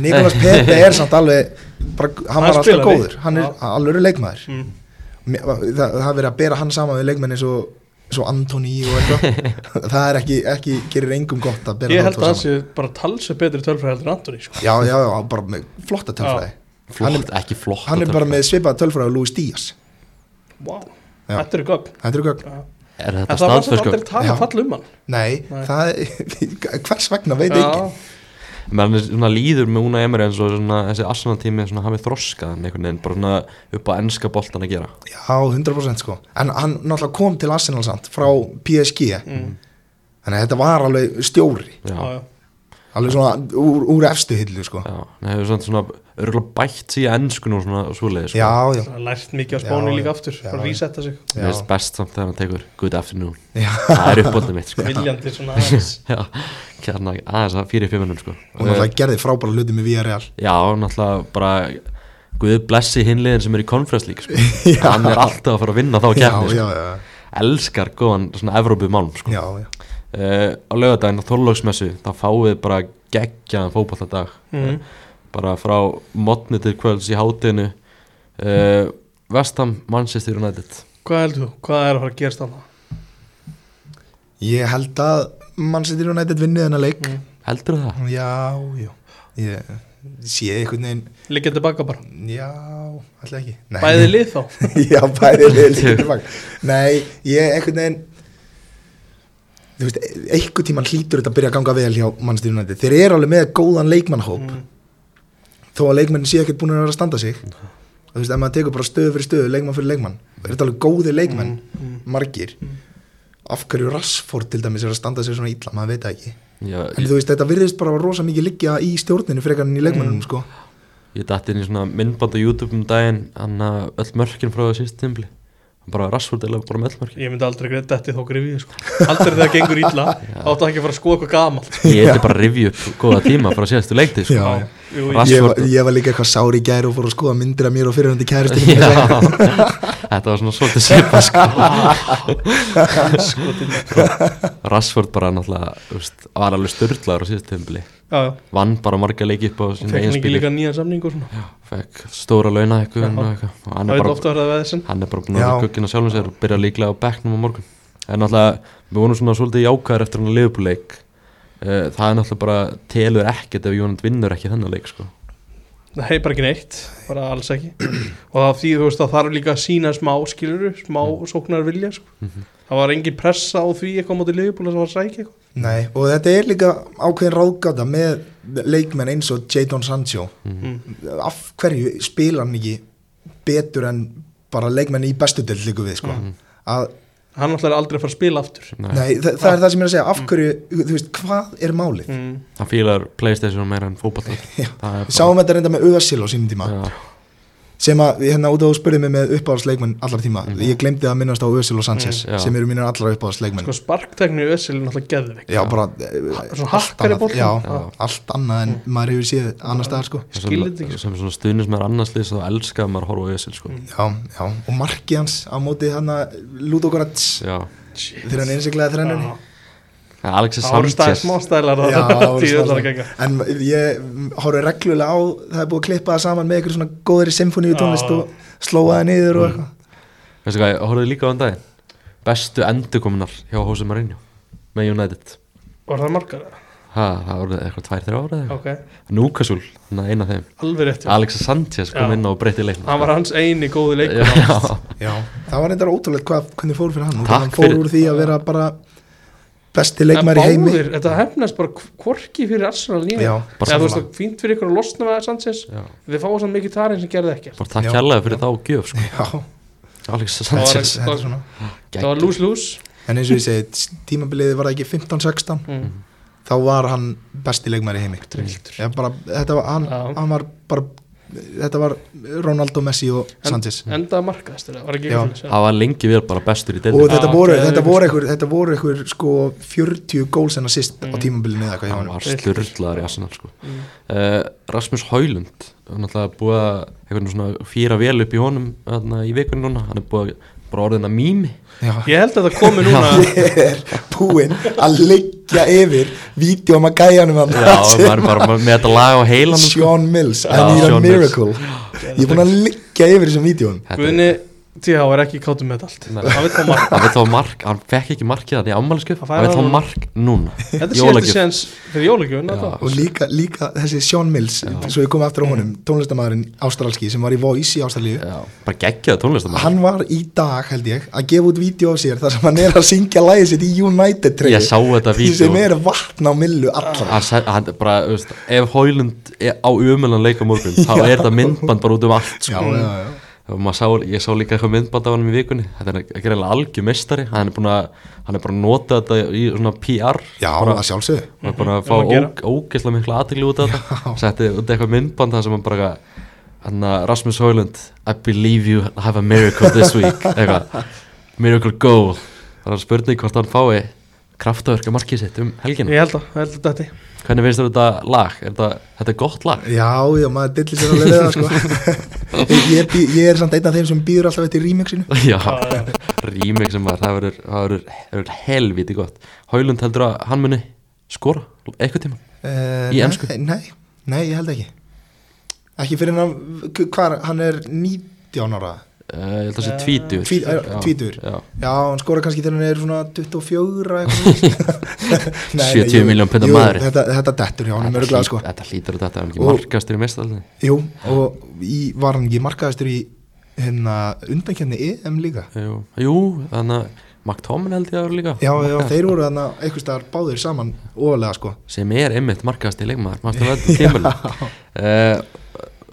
Nikolas Pepe er samt alveg bara, hann
Hann
var alltaf
spilaði.
góður, hann er alveg leikmaður
mm.
Mér- það, það er verið að bera hann saman við leikmenn eins og svo Antoni og eitthvað það er ekki, ekki, gerir engum gott að bera
Ég held að
tvo
hann sé bara talsu betri tölfræði heldur en Antoni sko.
já, já, já, bara með flotta tölfræði
flott,
hann
ekki flott
hann er
að
bara
tala.
með svipað tölfræði og Louis Díaz
wow.
Já.
Þetta eru gögn
þetta eru gögn
Já.
Er
En
þetta
það var samt
staðferðskap?
aldrei tala
sko. Já.
fall um hann
Nei,
Nei.
það er, hvers vegna veit
Já.
ekki
menn er svona líður með Una Emery eins og svona, þessi Arsenal tími svona hafið þroskað hann einhvern veginn bara svona upp á ennska boltan að gera
Já, 100% sko En hann náttúrulega kom til Arsenal samt frá PSG
Mm.
Þannig að þetta var alveg stjóri
já,
Já,
já,
já.
Alveg svona úr, úr efstu hillu sko Já,
það hefur svona, svona örgulega bætt sig í ennskun og svona svoleiði sko.
já, já,
Það er lært mikið á
Já,
spánu líka
já.
aftur
Já,
Bara
já.
resetta sig
Mér finnst best samt þegar hann tekur good afternoon
já.
það er uppbóttið mitt sko.
Viljandi svona aðeins
já, kjarna aðeins að fyrir fimmunum sko.
Og náttúrulega gerði frábæra hluti með VRL
Eh, já, náttúrulega bara Guð blessi hinliðin sem er í Conference League sko. hann er alltaf að fara að vinna þá
Já,
kefni
já,
sko.
já,
elskar góðan svona Evrópu málum sko.
já, já.
uh, á lögadaginn á Þorlóksmessu þá fáið þið bara geggjaðan fótballadag
Mm.
Mhm.
bara frá modni til kvölds í hátinu uh, Vestam Manchester United
Hvað heldur þú? Hvað er að fara að gerast á
Ég held að mann setur hún eitthvað vinnið hennar leik
Mm.
heldur það?
Já, já Ég sé einhvern veginn
Liggja tilbaka bara
Já, alltaf ekki Nei.
Bæði lið þá
Já, bæði liðið líka tilbaka Nei, ég einhvern veginn Þú veist, einhvern tíman hlýtur þetta að byrja að ganga vel hjá mannstýrunandi Þeir eru alveg með góðan leikmannhóp
Mm.
Þó að leikmennin sé ekkert búin að vera að standa sig Þú veist, ef maður tekur bara stöðu fyrir stöðu, leikmann fyrir leikmann Er þetta alveg góði leikmenn,
Mm, mm.
margir Af hverju Rassford til dæmis er að standa sig svona illa, maður veit það ekki
Já,
en
ég,
þú veist, þetta virðist bara að rosa mikið liggja í stjórninu frekar en í leikmannunum
Mm.
sko.
ég dætti inn í svona myndband á YouTube um daginn hann að öll mörkin frá það síst tímbli bara rassvöld eða bara með öll mörkin
Ég myndi aldrei greið þetta í þá grifið sko. Aldrei þegar gengur ítla Áttu ekki að fara að skoða eitthvað gamalt
ég ætti bara að rifja upp góða tíma frá síðastu leikti sko.
Já.
Já, jú,
Rass- Rashford-
ég-
ég, var- ég var líka eitthvað sári í gæri og fór að skoða myndir af mér og fyrirhundi
Já,
kæristinn
þetta var svona svolítið svipa sko.
sko, til-
Rassvöld bara náttúrulega þú veist, var alveg störtlaður á síðastu tímbli
já, já.
vann bara marga leiki upp á
Og
sín
Fekk
eigin
hann ekki líka
spili
nýjan samning og svona
fekk stóra launa eitthvað
Já.
og eitthvað. Og hann
Það
er
veit
bara
ofta að verða veðisinn
hann er bara búin að
Já.
kukkina sjálfum sér og byrja líklega á bekknum á morgun en náttúrulega, við vonum svona svolítið jákvæðar eftir hann að liðbúleik það er náttúrulega bara telur ekkert ef Jónand vinnur ekki þennan leik sko.
Það hefur bara ekki neitt, bara alls ekki Og það því þú veist það þarf líka að sína smá skiluru Smá
Mhm.
sóknar vilja sko. Það var engin pressa á því eitthvað á móti liðbúla sem var að sækja eitthvað
Nei, og þetta er líka ákveðin ráðgáta með leikmenn eins og Jadon Sancho
mm.
Mhm.
af hverju spila hann ekki betur en bara leikmenn í bestu del líku við sko. að,
Hann alltaf er aldrei að fara að spila aftur
Mhm. Nei. Ah. Mm.
nei, það, það er það sem ég er að segja af hverju, þú veist, hvað er málið
mm.
hann fílar Playstation meira en fótball
Já. við sáum þetta reynda með Ösil á sínum tíma sem að, hérna út á þú spurði mig með uppáðarsleikmenn allar tíma, ég glemdi að minnast á Ösil og Sanchez
Mhm. Mm. Já.
sem eru mínir allar uppáðarsleikmenn
Sko sparktekni í Össil er náttúrulega geðveik
já, bara eh,
svona
allt
hakkar í
annað-
boltann.
já,
Já. Mm.
allt annað en maður hefur séð annar staðar sko
Ég skil þetta ekki, Mm.
sem, sem svona stuðnir sem er annars lið þá elskar maður að horfa á Ösil sko.
já, já, og markið hans á móti hann að Ludogorets
Já.
Shit.
þegar hann innsiklaði þrennunni
Já.
Ja, Alexis
Það voru stæð
Sanchez
smá stælar
Já, það voru
Tíðuðlar að
snarlega.
genga
En ég horfði reglulega á það er búið að klippa það saman með einhverjum svona góðri symfóníu tónlist
Já. Mm.
og slóa það niður og eitthvað
Veistu hvað, ég horfði líka á hann daginn bestu endurkomunar hjá Jose Mourinho með United
Var það margar?
ha, það voru eitthvað tvær, þrjá ára eða
Ok,
eitthvað Núkasúl, eina af þeim
alveg rétt já.
Alex Sanchez kom
Já.
inn á breytti leiknum
Hann var hans eini góði leikur
Já,
Já. Það var reyndar ótrúlegt hvað, hvernig fór fyrir hann og
Takk
hann fór
fyrir-
úr því að vera bara besti
En
leikmæri í heimi
báðir, þetta hefnast bara hvorki fyrir Arsenal líka
Já,
bara
Eða þú veist
sammála.
það, fínt fyrir ykkur að losna með Sanchez
já.
Þið fáið svona mikið tarinn sem gerði ekkert
bara takk
Já.
hérlega fyrir þá gjöf sko.
Já,
Alex
Það var,
Sanchez
það,
þetta er svona
það var lús-lús
En eins og ég segi, tímabiliði var það ekki 15-16
mm.
Mhm.
þá var hann besti leikmæri í heimi
Trilltur
Já, bara, þetta var, hann,
Já.
hann var bara þetta var Ronaldo, Messi og Sanchez
Endaði markaðast þetta, var ekki
Já.
ekki fyrir
það var lengi verið bara bestur í
og
deildinni
þetta
Já,
voru,
geðveikur,
þetta voru einhver, þetta voru einhver sko 40 goals en assist á tímabilinu eða hvað hjá
hann
hann
var
Villtur.
sturlaður í Arsenal sko.
Mm.
uh, Rasmus Haulund hann er alltaf búið að einhvern veginn svona fýra vel upp í honum þarna, í vikunni núna, hann er búið að bara orðin að mými
Já.
Ég held að það komi núna
ég er búinn að liggja yfir vídjum að gæja hann um hann
já, maður er bara með þetta lag á heilanum sko.
Sean Mills, I
Já,
need a
Sean Mills.
miracle ég er búinn að liggja yfir þessum vídjum
Þetta er-
Guðni TH er ekki kátum með þetta
Nei.
allt Það veit það marka
hann veit þá mark, hann fekk ekki markið hann í ámæliskepp
Hann fær
hann veit þá
það núna.
mark núna
Þetta er
Jólagjöf.
síðasti séns fyrir jólagjöfun
Já.
og líka, líka þessi Sean Mills svo ég kom aftur á honum, tónlistamæðurinn ástralski sem var í Voice í ástralíu
Já, bara geggjaði tónlistamæður
hann var í dag held ég að gefa út vídeo af sér þar sem hann er að syngja lægið sitt í United treyju.
Ég sá þetta
Því sem
vídeó.
er vatna á millu allra
hann, seg- hann bara, þú veist, ef Hólund á umölan leika morgun, þá
Já.
er þetta myndband bara út um allt sko.
já, já, já.
og maður sá, ég sá líka eitthvað myndband af hann í vikunni, þetta er ekki reyna algjör mestari hann er búin að, hann er bara að nota þetta í svona PR
Já,
bara,
að sjálfsögðu
hann er búin að
Já, að gera.
fá ógeðslega mikla aðtýrli út af þetta setti út eitthvað myndband það sem hann bara hann að Rasmus Hólund I believe you have a miracle this week eitthvað, miracle goal það var spurning hvort hann fái kraftaverka markið sitt um helgina
Ég held að, ég held að þetta
hvernig finnst þér þetta lag, er þetta, þetta er gott lag
Já, já, maður dillir sér alveg við það sko. ég, ég, bý- ég er samt einn af þeim sem býður alltaf eftir remixinu
Já,
Já, já.
rímik sem var, það verður- það verður það verður helviti gott Hálund heldur að hann muni skora eitthvað tíma
uh,
Í ensku?
Nei, nei, nei, ég held ekki Ekki fyrir hann að- Hvar, hann er 19 ára
uh, Ég held að það sé tvítur
Eh, Tví- er- tvítugur?
já.
Já, hann skora kannski þegar hann er svona 24 eitthvað. Nei, nei,
70
jú,
milljón punda
jú,
maður.
Þetta, þetta dettur, já, hann er
Þetta
mörgulega
hlý-
sko
Þetta hlýtur að þetta er ekki
Og-
markastur í mestalni
Jú, og í, var hann ekki markaðastur í hérna undankjarni EM líka
Jú, jú þannig að McTomin held ég að vera líka
Já, já,
markahæstur.
þeir voru þarna einhvers staðar báðir saman ofalega sko
sem er einmitt markast í leikmaður maður þetta tímul uh,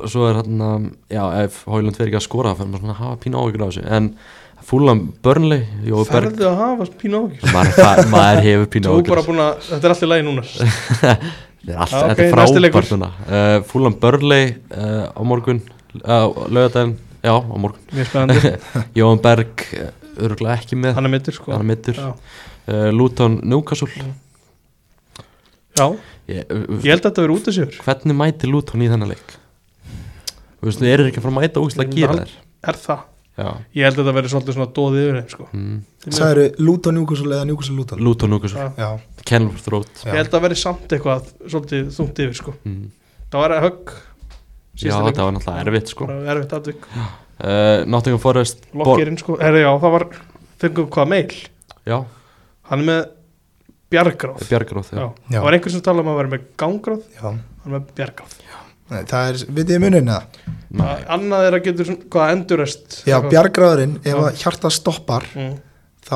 svo er hann já, ef Hólund fyrir ekki að skora þá fyrir maður svona að hafa pínu áhugur á þessu en Fúlam Burnley, Jói Berg
Ferðu að hafa pínu ákjör
maður, það, maður hefur pínu
Þú bara
ágjur
búin að, þetta er allt í lagi núna
Þetta er allt,
Já,
þetta
ok,
er
næsti leikur.
frábært núna uh, Fúlam Burnley uh, á morgun uh, lögadaginn, já á morgun
Mjög spennandi,
Jói Berg, uh, örgulega ekki með
hann er mittur sko
hann er mittur
Já.
uh, Luton Newcastle
Já,
ég, uh,
ég held að þetta verið út að sigur
hvernig mæti Luton í þennan leik þú veist, þú erir ekki að fara að mæta ógislega
Ég
að gera
held-
þér
Er það?
já
Ég held að þetta verið svolítið svona dóðið yfir þeim sko
mm.
Því miður.
Það eru Lúton Newcastle eða Newcastle Lúton
Luton Newcastle,
Já.
Já,
Kenilworth Road
Ég held að verið samt eitthvað svolítið þungt yfir sko
mm.
Það var að högg
já,
síðasta leikur.
þetta var náttúrulega erfitt sko
Bara Erfitt aðvik
uh, Nottingham Forest Bor-
Lokkirinn sko, herri já, það var Fengum hvað meil
já,
Hann er með bjargráð
Bjargróð já.
Já.
já,
Það var einhver sem talaði um að vera með gangráð
já.
Hann er með bjargráð
Nei, Það er, vitið ég munin eða?
Nei,
Annað er að getur svona, hvað endurest
Já, bjargráðurinn, ef
Já.
að hjarta stoppar
mm,
þá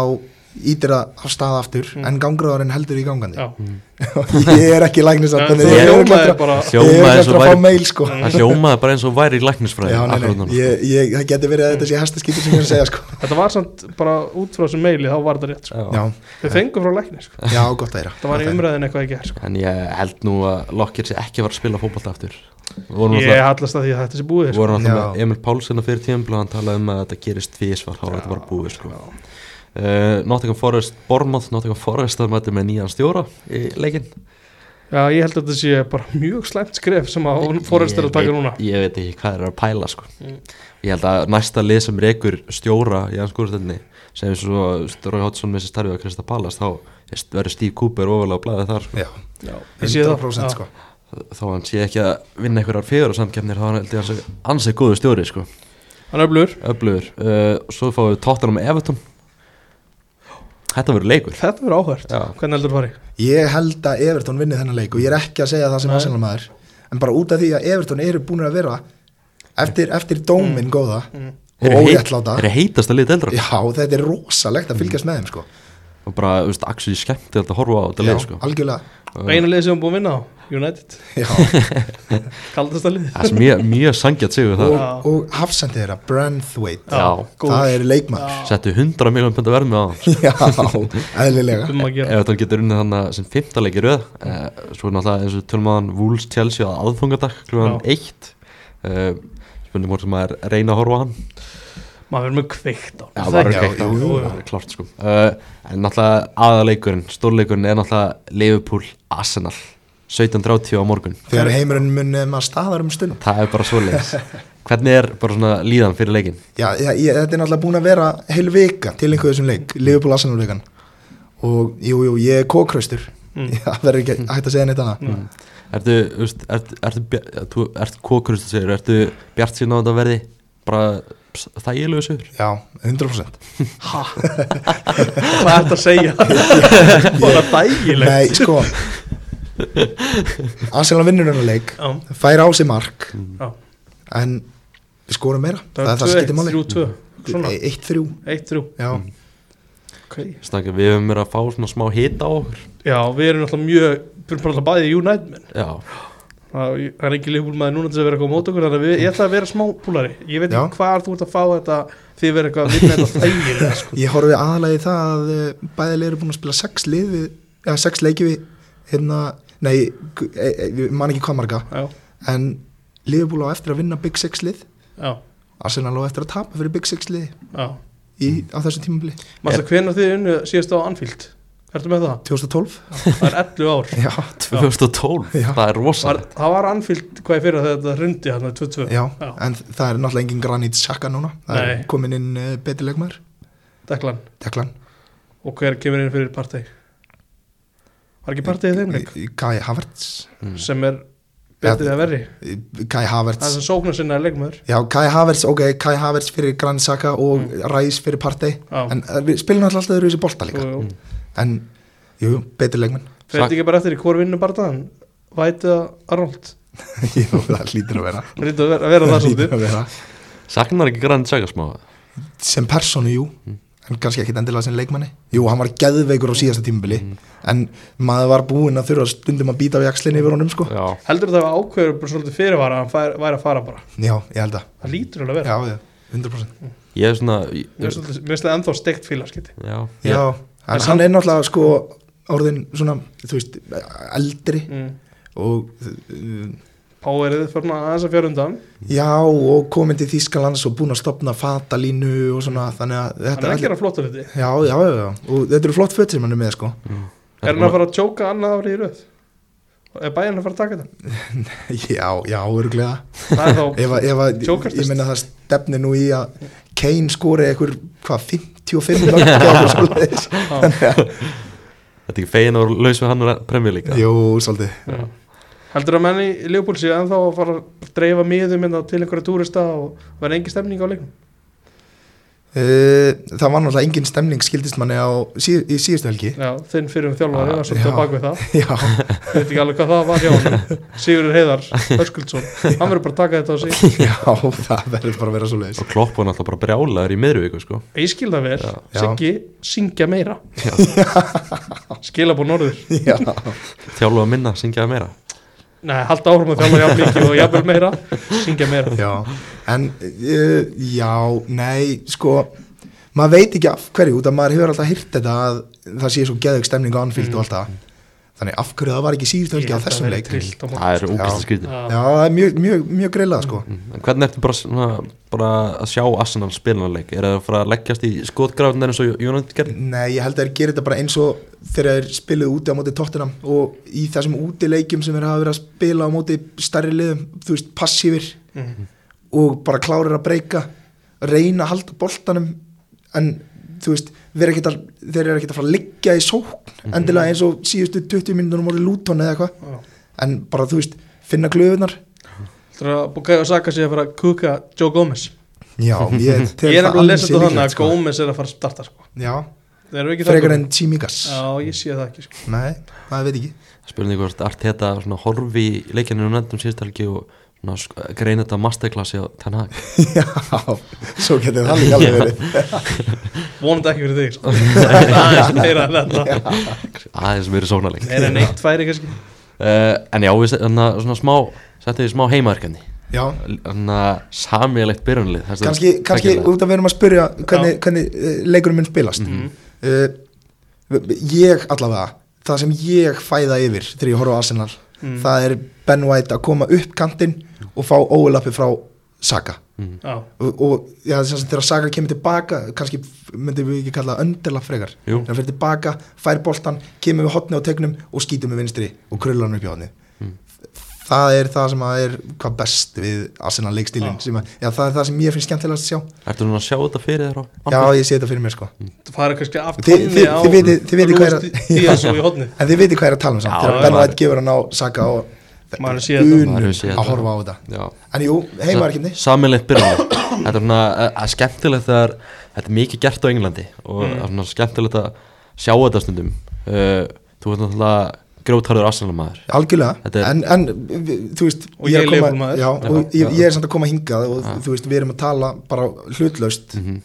ítir það af stað aftur
Mm.
en gangráðurinn heldur í gangandi
Já,
Ég er ekki læknir samt
það
þannig ég er
hljómaði
örugglega eftir að-
bara
ég
Hljómaði
er örugglega
eins og
eftir að
væri-
fá mail sko
Mm.
það hljómaði bara eins og væri í læknisfræði
Já, nei, nei, ég, ég, það getur verið að þetta sé hæsta skýtur sem ég er að segja sko
Þetta var samt bara út frá þessum meili þá var þetta rétt sko.
Já,
Þau fengu frá lækni sko.
já, gott að heyra
Það var í umræðin eitthvað ekki sko.
en ég held nú að Lockyer sé ekki að fara að spila fótballta aftur Við vorum
Ég
náttúrulega
hallast að því að þetta sé búið
við
sko.
vorum náttúrulega
Já.
með Emil Pálsson að fyrir tíðanbla hann talaði um að þetta gerist tvísvar þá var þetta bara búið sko. uh, Nottingham Forest Bormoth, Nottingham Forest það mæti með nýjan stjóra í leikin
Já, ég held að þetta sé bara mjög slæmt skref sem að fórhast er að taka núna
ég, veit ekki hvað þeir eru að pæla sko.
Mm.
ég held að næsta lið sem rekur stjóra í hans skórstöldinni sem svo Rói Hotsson með sér starfið að Krista Pallas þá verður Steve Cooper ofalega blæðið þar sko.
Já,
Ég sé það.
100% sko
þó hann sé ekki að vinna einhverjar fjögur á samkefnir þá hann held ég að hann sé ansið góðu stjóri sko.
Hann öflur
öflugur, uh, svo fáum við Tottenham og Everton þetta verður leikur
Þetta verður áhvert
Já.
Hvernig heldur fari?
Ég held að Everton vinni þennan leik og ég er ekki að segja það sem
Nei.
Arsenal maður en bara út af því að Everton eru búin að vera eftir, eftir dóminn góða
Mm.
og óréttláta
er heitast að lið eldra
Já, þetta er rosalegt að fylgjast með þeim sko
og bara, þú veist, axið skemmt að horfa á þetta
Já,
leið sko.
algjörlega
uh,
Einu lið sem hún búið að vinna á United
Já,
Kaldast að lið
það er mjög, mjög sangjart sigur það
og, og hafsendi þeirra, Branthwaite
Já.
Það er leikmaður
settu 100 miljón pund að verða með á hann
Já, eðlilega
Um að gera
ef hann getur unnið þannig sem fymtaleiki röð eh, svo náttúrulega eins og tölum að hann Wolves Chelsea á aðfungadag klugan
Já.
1 eh, spurningum hvort sem maður reyna að horfa á hann
Maður verður með kveikt á
Já,
Það
maður
ekki?
verður kveikt á.
jú, jú.
Það er klart sko uh, en náttúrulega aðaleikurinn, stórleikurinn er náttúrulega Liverpool Arsenal 17.30 á morgun
Þegar heimurinn munið maður staðar um stund
það er bara svoleiðis hvernig er bara svona líðan fyrir leikin
Já, já ég, þetta er náttúrulega búin að vera heil vika til einhverju þessum leik, Liverpool Arsenal vikan og jú, jú, ég er kókraustur
Mm.
það verður ekki hægt að segja neitt annað
Mm.
ertu, þú veist, ertu, ertu, bja- þú ert kókurist að segja, ertu bjart síðan á þetta verði bara þægilegu sigur
Já, 100%
Ha? Hvað ertu að segja? Bara dægilegt
Nei, sko Arsenal vinnur hennar leik
Já,
fær á sig mark
já
en við skorum meira það, er það sem getur máli
2-1, 3-2 Svona,
1-3
1-3
Já,
okay.
Snakka, við hefum verið að fá svona smá hita á okkur
Já, við erum alltaf mjög Við erum bara alltaf bæði United menn
já,
Það það er ekki lífbúlmaður núna til að vera eitthvað á mót okkur Þannig að við, ég ætla að vera smá búlari Ég veit
Já.
ekki hvað þú ert að fá þetta Þið verður eitthvað að vinna þetta þægilega sko.
ég horfi aðalagi það að eh, bæði leir eru búin að spila 6 lið við, eða 6 leiki við hérna, nei, gu- e, e, ég man ekki hvað marga
Já,
en Liverpool á eftir að vinna Big Six lið
já,
Arsenal á eftir að tapa fyrir Big Six lið
já
í, á þessu tímabili
Masta, hvenær þið unnu síðast á Anfield? Ertu með það?
2012
Það er 11 ár
já,
2012,
Já.
það er
Var,
rosalegt
það var Anfield hvað ég fyrir að þetta hrundi hérna 22
já,
Já.
en það er náttúrulega engin Granit Xhaka núna það
Nei.
er komin inn uh, betri leikmaður
Deklan
Deklan,
og hver kemur inn fyrir partæ Var ekki partæ í þeim leik
Kai Havertz
Mm.
sem er betri
Ja,
eða verri
eh, Kai
Það er
Havertz
sem sóknar sinna er leikmaður
já, Kai Havertz, ok, Kai Havertz fyrir Granit Xhaka og mm. Ræs fyrir Partey
Já.
en eh, við spilum alltaf alltaf þessi bolta líka
og
en, jú, jú, betri leikmann
fyrir þetta ekki bara eftir í hvor vinnur barðan Vætið að Arnold
jú, það lítur að vera
Rýttu að vera, að vera það svolítið
að vera
Saknar ekki grann tjaka smá
sem personu, jú en kannski ekkit endilega sem leikmanni jú, hann var geðveikur á síðasta tímabili en maður var búinn að þurfa stundum að býta á jakslinni yfir honum sko já,
Já,
Heldur það að ákveður bara svolítið fyrirvara að hann fær, væri að fara bara
ég held að
Það lítur alveg að vera
já, já, 100%
Ég er svona ég,
Mér finnst þetta- mér finnst það ennþá steikt fílarskiti
Já,
já,
ég,
en hann er náttúrulega sko orðin svona, þú veist, eldri
mm.
og uh,
Páverið fyrir aðeins að fjara undan
já, og komin til Þýskalands og búin að stopna fatalínu og svona, þannig að
Hann
þetta
er að gera flotta hluti
Já, já, já, já, og þetta eru flott föt sem hann er með sko
Er hann að fara að tjóka annað árið í röð? Er bæinn að fara að taka þetta?
Já, já, örglega
Það er þá
Ef að, ef að,
Jokertest.
ég meina það stefni nú í að Kane skori eitthvað, hvað, 55 mörg eða eitthvað svoleiðis.
Þetta er ekki fegin að voru laus við hann úr premjör líka
Jú, svolítið
Já. Heldur að menni í Leopold séu ennþá að fara að dreifa miðum hérna til einhverja túrista og vera engi stemning á leiknum?
Uh, það var náttúrulega engin stemning skildist manni á, síð, í síðustu helgi
Já, þinn fyrir um
Ah,
þjálfari var svolítið
já.
á bak við það.
Já,
Ég veit ekki alveg hvað það var hjá hann. Sigurður Heiðar, Höskuldsson, hann verður bara að taka þetta á sig.
já, það verður bara að vera svoleiðis
Og Klopp var náttúrulega bara brjálaður í miðruvíku sko.
Ég skil það vel,
Já.
Já.
Siggi, syngja meira. Skila búin orður.
Já,
Þjálfa minna, syngjaði meira
Nei, halda áhrum að þjálfa jafn mikið og jafnvel meira, syngja meira.
já, en, uh, já, nei, sko Maður veit ekki af hverju, út að maður hefur alltaf hýrt þetta að það sé svo geðug stemning á anfíld og allt það Þannig af hverju það var ekki í síðustu helgi á þessum leik
Það er
Já.
úkvæmst skrýti
Já, það er mjög, mjög, mjög greilað sko
En hvernig ertu bara, svona, bara að sjá Arsenal spilanleik? Er það að fara að leggjast í skotgrafnir eins og United gerði?
Nei, ég held að þeir gerir þetta bara eins og þegar þeir spiluðu úti á móti Tottenham og í þessum útileikjum sem þeir hafa verið að spila á móti stærri liðum, þú veist, passífir
Mm.
og bara klárir að breyka reyna að halda boltanum en þú veist, þeir eru ekkert að, þeir eru ekkert að fara að liggja í sókn endilega eins og síðustu 20 minnunum voru lúton eða eitthvað, en bara þú veist finna glöfunar
Það er að Bukayo Saka sé að fara að kuka Joe Gomez.
Já, ég, tel
Ég er nefnilega
það
að lesa
ansi
þetta
líklegt,
þannig að
sko.
Gómez er að fara að starta sko.
Já,
Erum við ekki það
frekar
góð?
en Tímigas
Já, ég sé það ekki sko.
Nei, það veit ekki
Spurning hvort allt þetta svona, horfi í leikinu um nefndum síðustelgi og svona, sk- greina þetta masterclassi á Ten Hag
Já, svo getur það líka alveg verið
Vonandi ekki fyrir þig sko. Það er meira en þetta
aðeins meiri sóknarleik
Meira en eitt færi kannski
uh, En já, við se- þarna svona smá settum við smá heimaverkefni
Já,
Þannig að samíðalegt byrjunlið þessi-
kannski, kannski
tveggja liða.
út af við erum að spyrja hvernig, hvernig eh, leikurinn mun spilast mm Ég allavega það sem ég fæða yfir þegar ég horfa á Arsenal
Mm.
það er Ben White að koma upp kantinn og fá óelappi frá Saka
Já,
og, og já, sem sagt, þegar Saka kemur tilbaka kannski myndum við ekki kalla önderlapp frekar
Jú.
þegar hann fyrir tilbaka, fær boltan kemur við hotni á tegnum og skýtum við vinstri og krullar hann upp hjá hotni
Hmm.
það er það sem að er hvað best við Arsenal leikstílinn
Já.
sem að, já, það er það sem ég finnst skemmtilegast að sjá
Ertu núna að sjá þetta fyrir þér á
Já, ég sé þetta fyrir mér sko
Hmm.
það fara kannski af
Þi- þi- þið vitið- þið vitið hvað er að-
Díaz og í hodni
En þið veitir hvað ég er að tala um samt
Já,
Þegar
já,
Ben
maður-
White gefur hann á Saka og
Maður séð þetta.
Maður
unum
hefur séð
að
þetta.
horfa á þetta
Já.
En jú, heimaverkefni
samilegt byrjunlið þetta er svona að- að skemmtilegt þegar þetta er mikið gert á Englandi og
Mm.
það er svona skemmtilegt að sjá þetta stundum uh, þú veist náttúrulega grótarður Arsenal maður Þetta
Algjörlega,
er-
en, en við- þú veist
Og
er
ég
að koma-
Liverpool-maður.
já, og
Já,
ég,
já.
ég er samt að koma hingað og þú veist, við erum að tala bara hlutlaust og,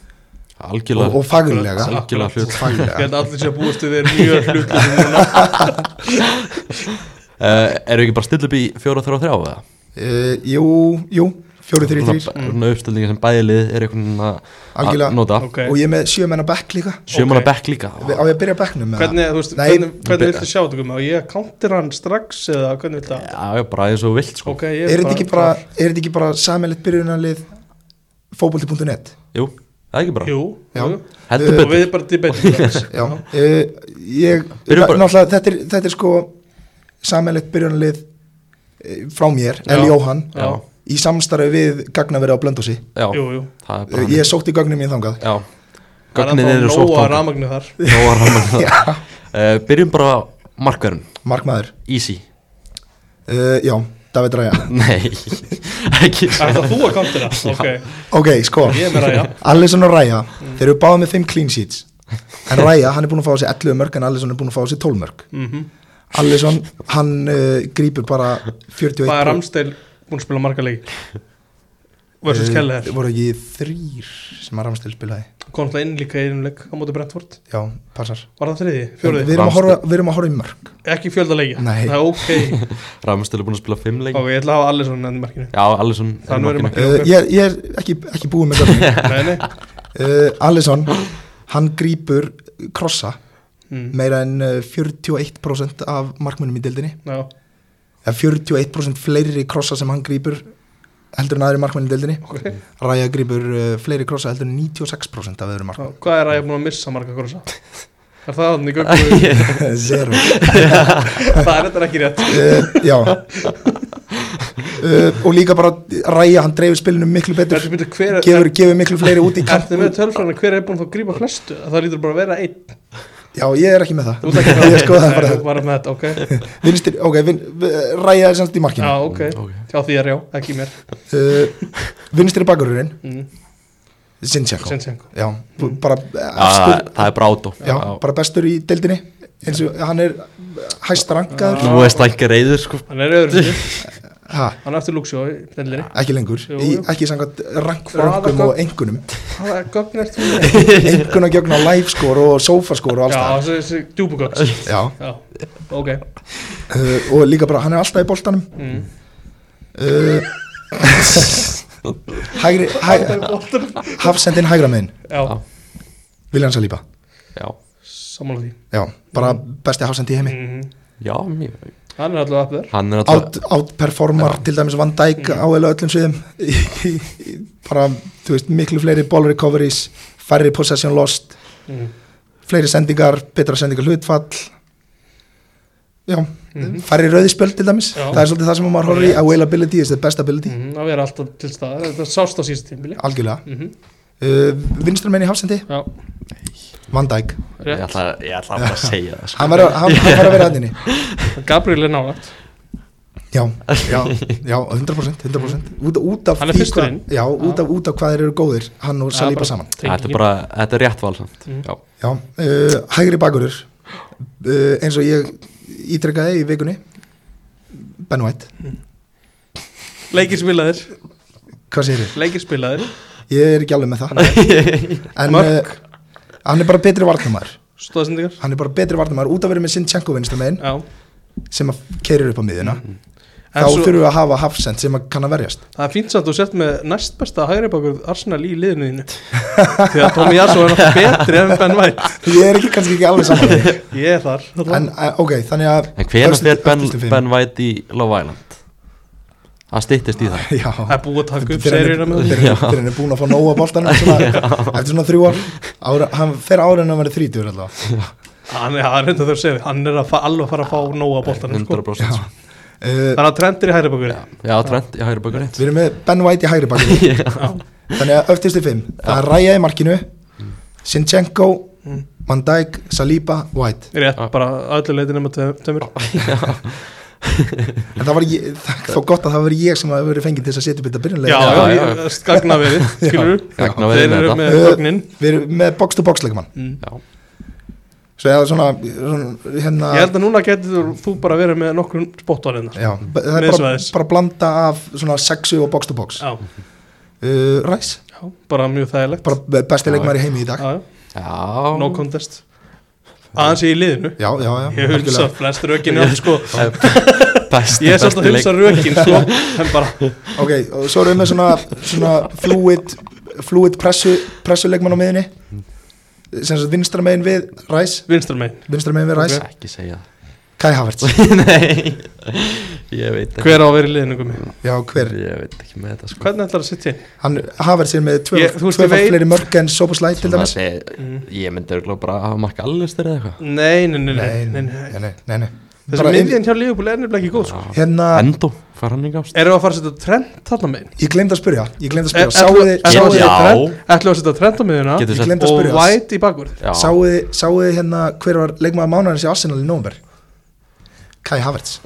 algjörlega
og faglega
Mhm. algjörlega
Akkurat.
Og
hlut
Ég held
faglega
að allir sé að búast við þeir mjög hlutlum
uh, eru ekki bara að stilla upp í 4-3-3 eða?
uh, Jú, jú, fjóri, þrjir, þrjir
Svona- svona uppstillingar sem bæði lið er einhvern veginn að-
Mm. Algjörlega.
að nota
Ok.
Og ég er með sjö menna bekk líka
sjömanna
Ok.
bekk líka
Á ég að byrja á bekknum með
Hvernig, þú veist,
Nei.
hvernig, hvernig
Be-
viltu sjá þetta komið? Ég counter hann strax eða hvernig viltu að
já, já, bara eins og þú vilt sko
Ok, ég
Er þetta ekki bara, er þetta ekki bara samilegt byrjunarlið fótbolti.net?
jú, það er ekki bara
Jú,
Já.
jú.
heldur
og
betur
við bara debatum
Já, uh, ég,
Byrjum bara-
náttúrulega þetta er, þetta er sko samilegt byrjunarlið eh, frá mér,
Já.
El Jóhann,
Já,
í samstarfi við gagnaverið á Blöndósi.
já,
jú, jú
það er
Uh,
bara
ég sótti gögnum mín þangað.
já,
Það
gögnin
er
eru
ennþá
svo
nóa ramagnu þar
Nóa Raman uh, Byrjum bara á markverðin
Markmaður.
Easy
Uh, já, David Ræja.
Nei, ekki
Er það þú að countera? Ok,
Ok, sko.
ég er með Mm. ræja
Allison og Ræja, þeir eru báða með 5 clean sheets. En Ræja, hann er búin að fá sér 11 mörg en Allison er búin að fá sér 12 mörg.
Mhm.
Allison, hann uh, grípur bara 41
Hvað er Ramstein búin að spila marga leiki? Versus Keller
Eh, voru ekki þrýr sem að Ramstil spilaði
Kom það inn líka í einum leik á móti Brentford
já, passar
Var það þriði?
við
Fjóriði?
erum, að
Ramsdale.
horfa, við erum að horfa í mörg
Ekki fjölda leiki?
Nei.
Það er ok
Ramstil er búin að spila fimm leik
Ok, ég ætla að hafa allir svona enn í markinu
Já, Allison er í
Eh,
Þannig verður
markinu.
maður
uh, ég, ég er ekki, ekki búið með gögnin
Nei, nei
uh, Alisson, hann grípur krossa
mm.
meira en eh, 41% af markmunum í Eh, dildinni
Já,
eða 41% fleiri krossa sem hann grípur heldur en aðri markmunum í dildinni
ok
Raja grípur uh, fleiri krossa heldur en 96% af öðru
Já,
markmunum
Hvað er að ég búin að missa marga krossa? Er það þannig göggu?
Zero
það er þetta ekki rétt
uh, Já uh, Og líka bara Raja, hann dreifir spilinu miklu betur
Ertu myndið hver er
gefur, gefur miklu fleiri út í kant
Ertu með tölfræðina hver er búin að grípa flestu? Það lítur bara að vera einn
Já, ég er ekki með
Þú
það
ert ekki með
Ég skoða það bara.
Nei, þú bara með þetta, ok
Vinstir, ok, vin, Raja er semst í markinu
Já, ok
Ok.
Hjá því er já, ekki mér
uh, Vinstri bakururinn
mm.
Sinchenko
Sinchenko
Já, bú- bara
það,
efstur,
Ah, það er brátó
já, bara bestur í deildinni eins og hann er hæst rankaður
Nú er stækka reyður sko
Hann er öðru
ha,
Hann er eftir Luxjó í dellinni
ekki lengur,
Jú,
í,
jú.
ekki samkvæmt
Raðagögn.
rankfröngum og engunum
Hvaða gögn er þú?
enguna gegn á live score og sofa score og
Já,
alls það
þessi- þessi djúbugögn
Já,
Já, ok
uh, og líka bara, hann er alltaf í boltanum
mm.
uh, Hægri, hæ, hafsendin hægra meðin
Já,
Viljan Salíba,
Já,
sammála því
já, bara besti hafsendi í heimi
mm.
já, mjög
Hann er alltaf uppður
Hann er alltaf
Out- outperformar til dæmis Van
Mm.
Dijk á eða öllum sviðum Í- í- í- bara, þú veist, miklu fleiri ball recoveries, færri possession lost
mm.
fleiri sendingar, betra sendingar hlutfall já,
Mhm.
færri rauðspjöld til dæmis
Já.
það er svolítið það sem maður horfir í, availability is the best ability,
mm, að vera alltaf til staðar þetta sást á síðast tímbili
algjörlega
mm
uh, vinstramenn í hafsendi,
já,
Van Dijk
Ég
rétt
ætla, ég ætla bara að segja það
hann
sko
var, að- hann, hann var að vera aðinni
Gabriel er nálægt
já, já, já, 100%, 100%. Út, út
Mhm.
af
Hann er
því
fyrstur
hvað-
inn.
já, út af, út af hvað þeir eru góðir hann og
Já,
Saliba
bara-
saman
Þetta er bara, þetta er rétt val samt
Mm.
Já,
Já, uh, hægri bakurur uh, eins og ég ítrekkaði í vikunni Ben White,
leikir spilaðir
hvað sér ég?
leikir spilaðir
Ég er ekki alveg með það En uh,
Mörk.
hann er bara betri varnamæður
stóðsendingar
hann er bara betri varnamæður út af verið með Sinchenko vinstramegin
já
sem að keirir upp á miðuna
En
þá
svo-
þurfum við að hafa hafsend sem að kann að verjast
það er fínt samt að þú sett með næst besta hægri bakur Arsenal í liðinu þínu því að Tommy Jarsson er alltaf betri en Ben White
Ég er ekki kannski ekki alveg saman en
ég er þar
uh, ok, þannig að
en hvernig
Örstu-
fer ben,
örstustu fimm.
ben White í Love Island? Það styttist í það
Já
það er búið að taka upp
Þegar hann er-
seríuna með það
þegar hann er- þegar hann er búin að fá nóa boltanum svona, eftir svona þrjú ár ára, hann fer ára en að vera þrítur allavega
hann er hann er þetta þurr segið hann er að fa- alveg að fara að fá nóa bóltanum sko.
100% sko.
uh,
þannig að trendir í hægri bakur
Já, já trend í hægri bökunni
Við erum með Ben White í hægri bakinu Þannig að öftustu fimm Það er Raja í markinu Sinchenko,
Mm.
Van Dijk, Saliba, White
rétt bara að öllu leitin nema tömur
En það var ég, það, þó gott að það var ég sem hafi verið fengið til þess að setja upp þetta
já,
byrjunlega
já,
Já,
já,
já.
já. gagnaverið, skilur
Gagna verið
þeir
með
eru
þetta
með
þetta.
gögnin
Við erum með box to box leikmann
Mm.
Já.
Svo eða svona, svona hérna,
ég held að núna getur þú, þú bara verið með nokkrum hérna. spottorinn
já, b- Það er bara,
Miðsvæðis.
bara blanda af svona sexu og Eh, box to box uh,
já,
Ræs,
já, bara mjög þægilegt
bara besti
Já,
leikmann í heimi í dag
já, já,
Já
no contest aðeins í liðinu
Já, já, já
ég hulsa
algjörlega.
flest rökin já, sko.
Best,
ég er svolítið að hulsa rökin sko. en bara,
Ok, og svo erum við með svona, svona fluid, fluid pressu, pressuleikmann á miðinni sem sagt vinstra megin við Ræs
vinstur megin
vinstra megin við Ræs,
Ekki segja það
Kai Havertz
Nei, ég veit ekki
hver á að vera í liðinu gumi?
Já, hver?
Ég veit ekki með þetta sko
hvernig ætlar að sitja inn?
Hann, Havertz er með
Ég- þú veist, ég
tvöfald
veit-
fleiri mörg en Sopo Slæt til
Svona
dæmis
að segja,
Mm.
Ég myndi örugglega bara hafa marka allustir eða eitthvað
nei, nei, nei, nei, nei,
Nei, nei,
nei.
nei, nei, nei.
þessi
Bara inn-
miðjan hjá Liverpool er nefnilega ekki góð sko.
Hérna,
Endó, fær hann í gást
eru að fara að setja trend þarna megin?
ég glemd að spyrja Ég glemd
E-
að spyrja,
ætlu-
sáuði
ætlu
Já.
að setja trend- ætlu að setja trend á miðjuna
Getur
Ég
sett
glemd að
eh, og
spyrja
White í bakvörð
Já,
Sáuði, sáuði hérna hver var leikmaður mánarins í Arsenal í nómver Kai Havertz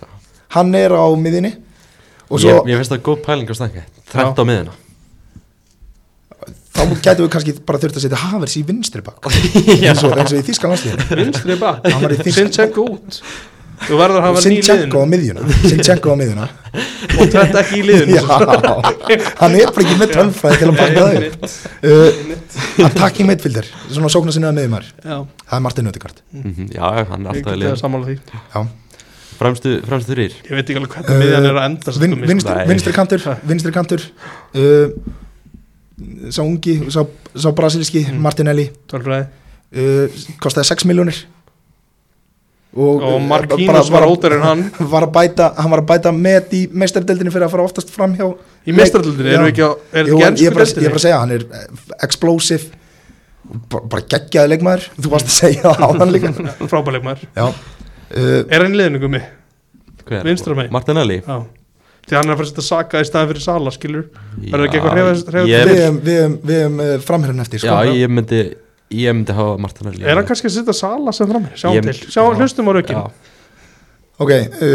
Hann er á miðinni og svo
ég, ég finnst það góð pæling á stænka Trend á miðina
þá gætu við kannski bara þurft að setja Havertz í vinstri bak eins og, eins og í Þíska landslíðinu
vinstri bak
Hann var í Þýsk-
Sinchenko út þú verður að hafa hann í
Sinchenko á
liðinu
miðjuna Sinchenko á miðjuna
og trend ekki í liðinu
Já, hann er bara ekki með tölfræði til að baka það upp uh, Attacking midfielder, svona sóknar sinni að miðjumar
já,
Það er Martin Ödegard
Mhm, Já, já, hann er
ég
alltaf í
geti að
liðin
samála því
Já.
Fremstu, fremstu þrýr
ég veit ekki
Uh,
alveg hvernig miðjan er að enda sko.
Vin, vinstri,
Nei.
vinstri kantur, vinstri kantur uh, sá ungi, sá, sá brasilíski
Mm.
Martinelli,
Tölfræði
uh, kostaði 6 miljónir og,
Og
eh,
Markínus var ótar en hann
var að bæta, hann var að bæta met í meistardeldinni fyrir að fara oftast fram hjá
Í mestraröldinni, erum við ekki á Er
Jú,
þetta
en
ekki
ég er bara, ég er bara
ennsku
að segja, hann er eh, explosive bara, bara geggjaði leikmaður þú varst að segja það á hann líka
deildinni? Frábæleik maður
já uh,
Er hann í liðinu gummi?
Hver?
Vinstra megin.
Martinelli
Já Því hann er að fara að setja Saka í staðin fyrir Sala, skilur Verður ekki
Já,
eitthvað hreyfa- hreyfa
ég-
við hefum, við hefum, við hefum eh, framherrann eftir
Já,
sko.
ég myndi Ég myndi hafa Martinelli
Er hann kannski að setja Sala sem fram Sjá
Ég-
til, sjá,
Já.
hlustum á rökin
Já,
ok, uh,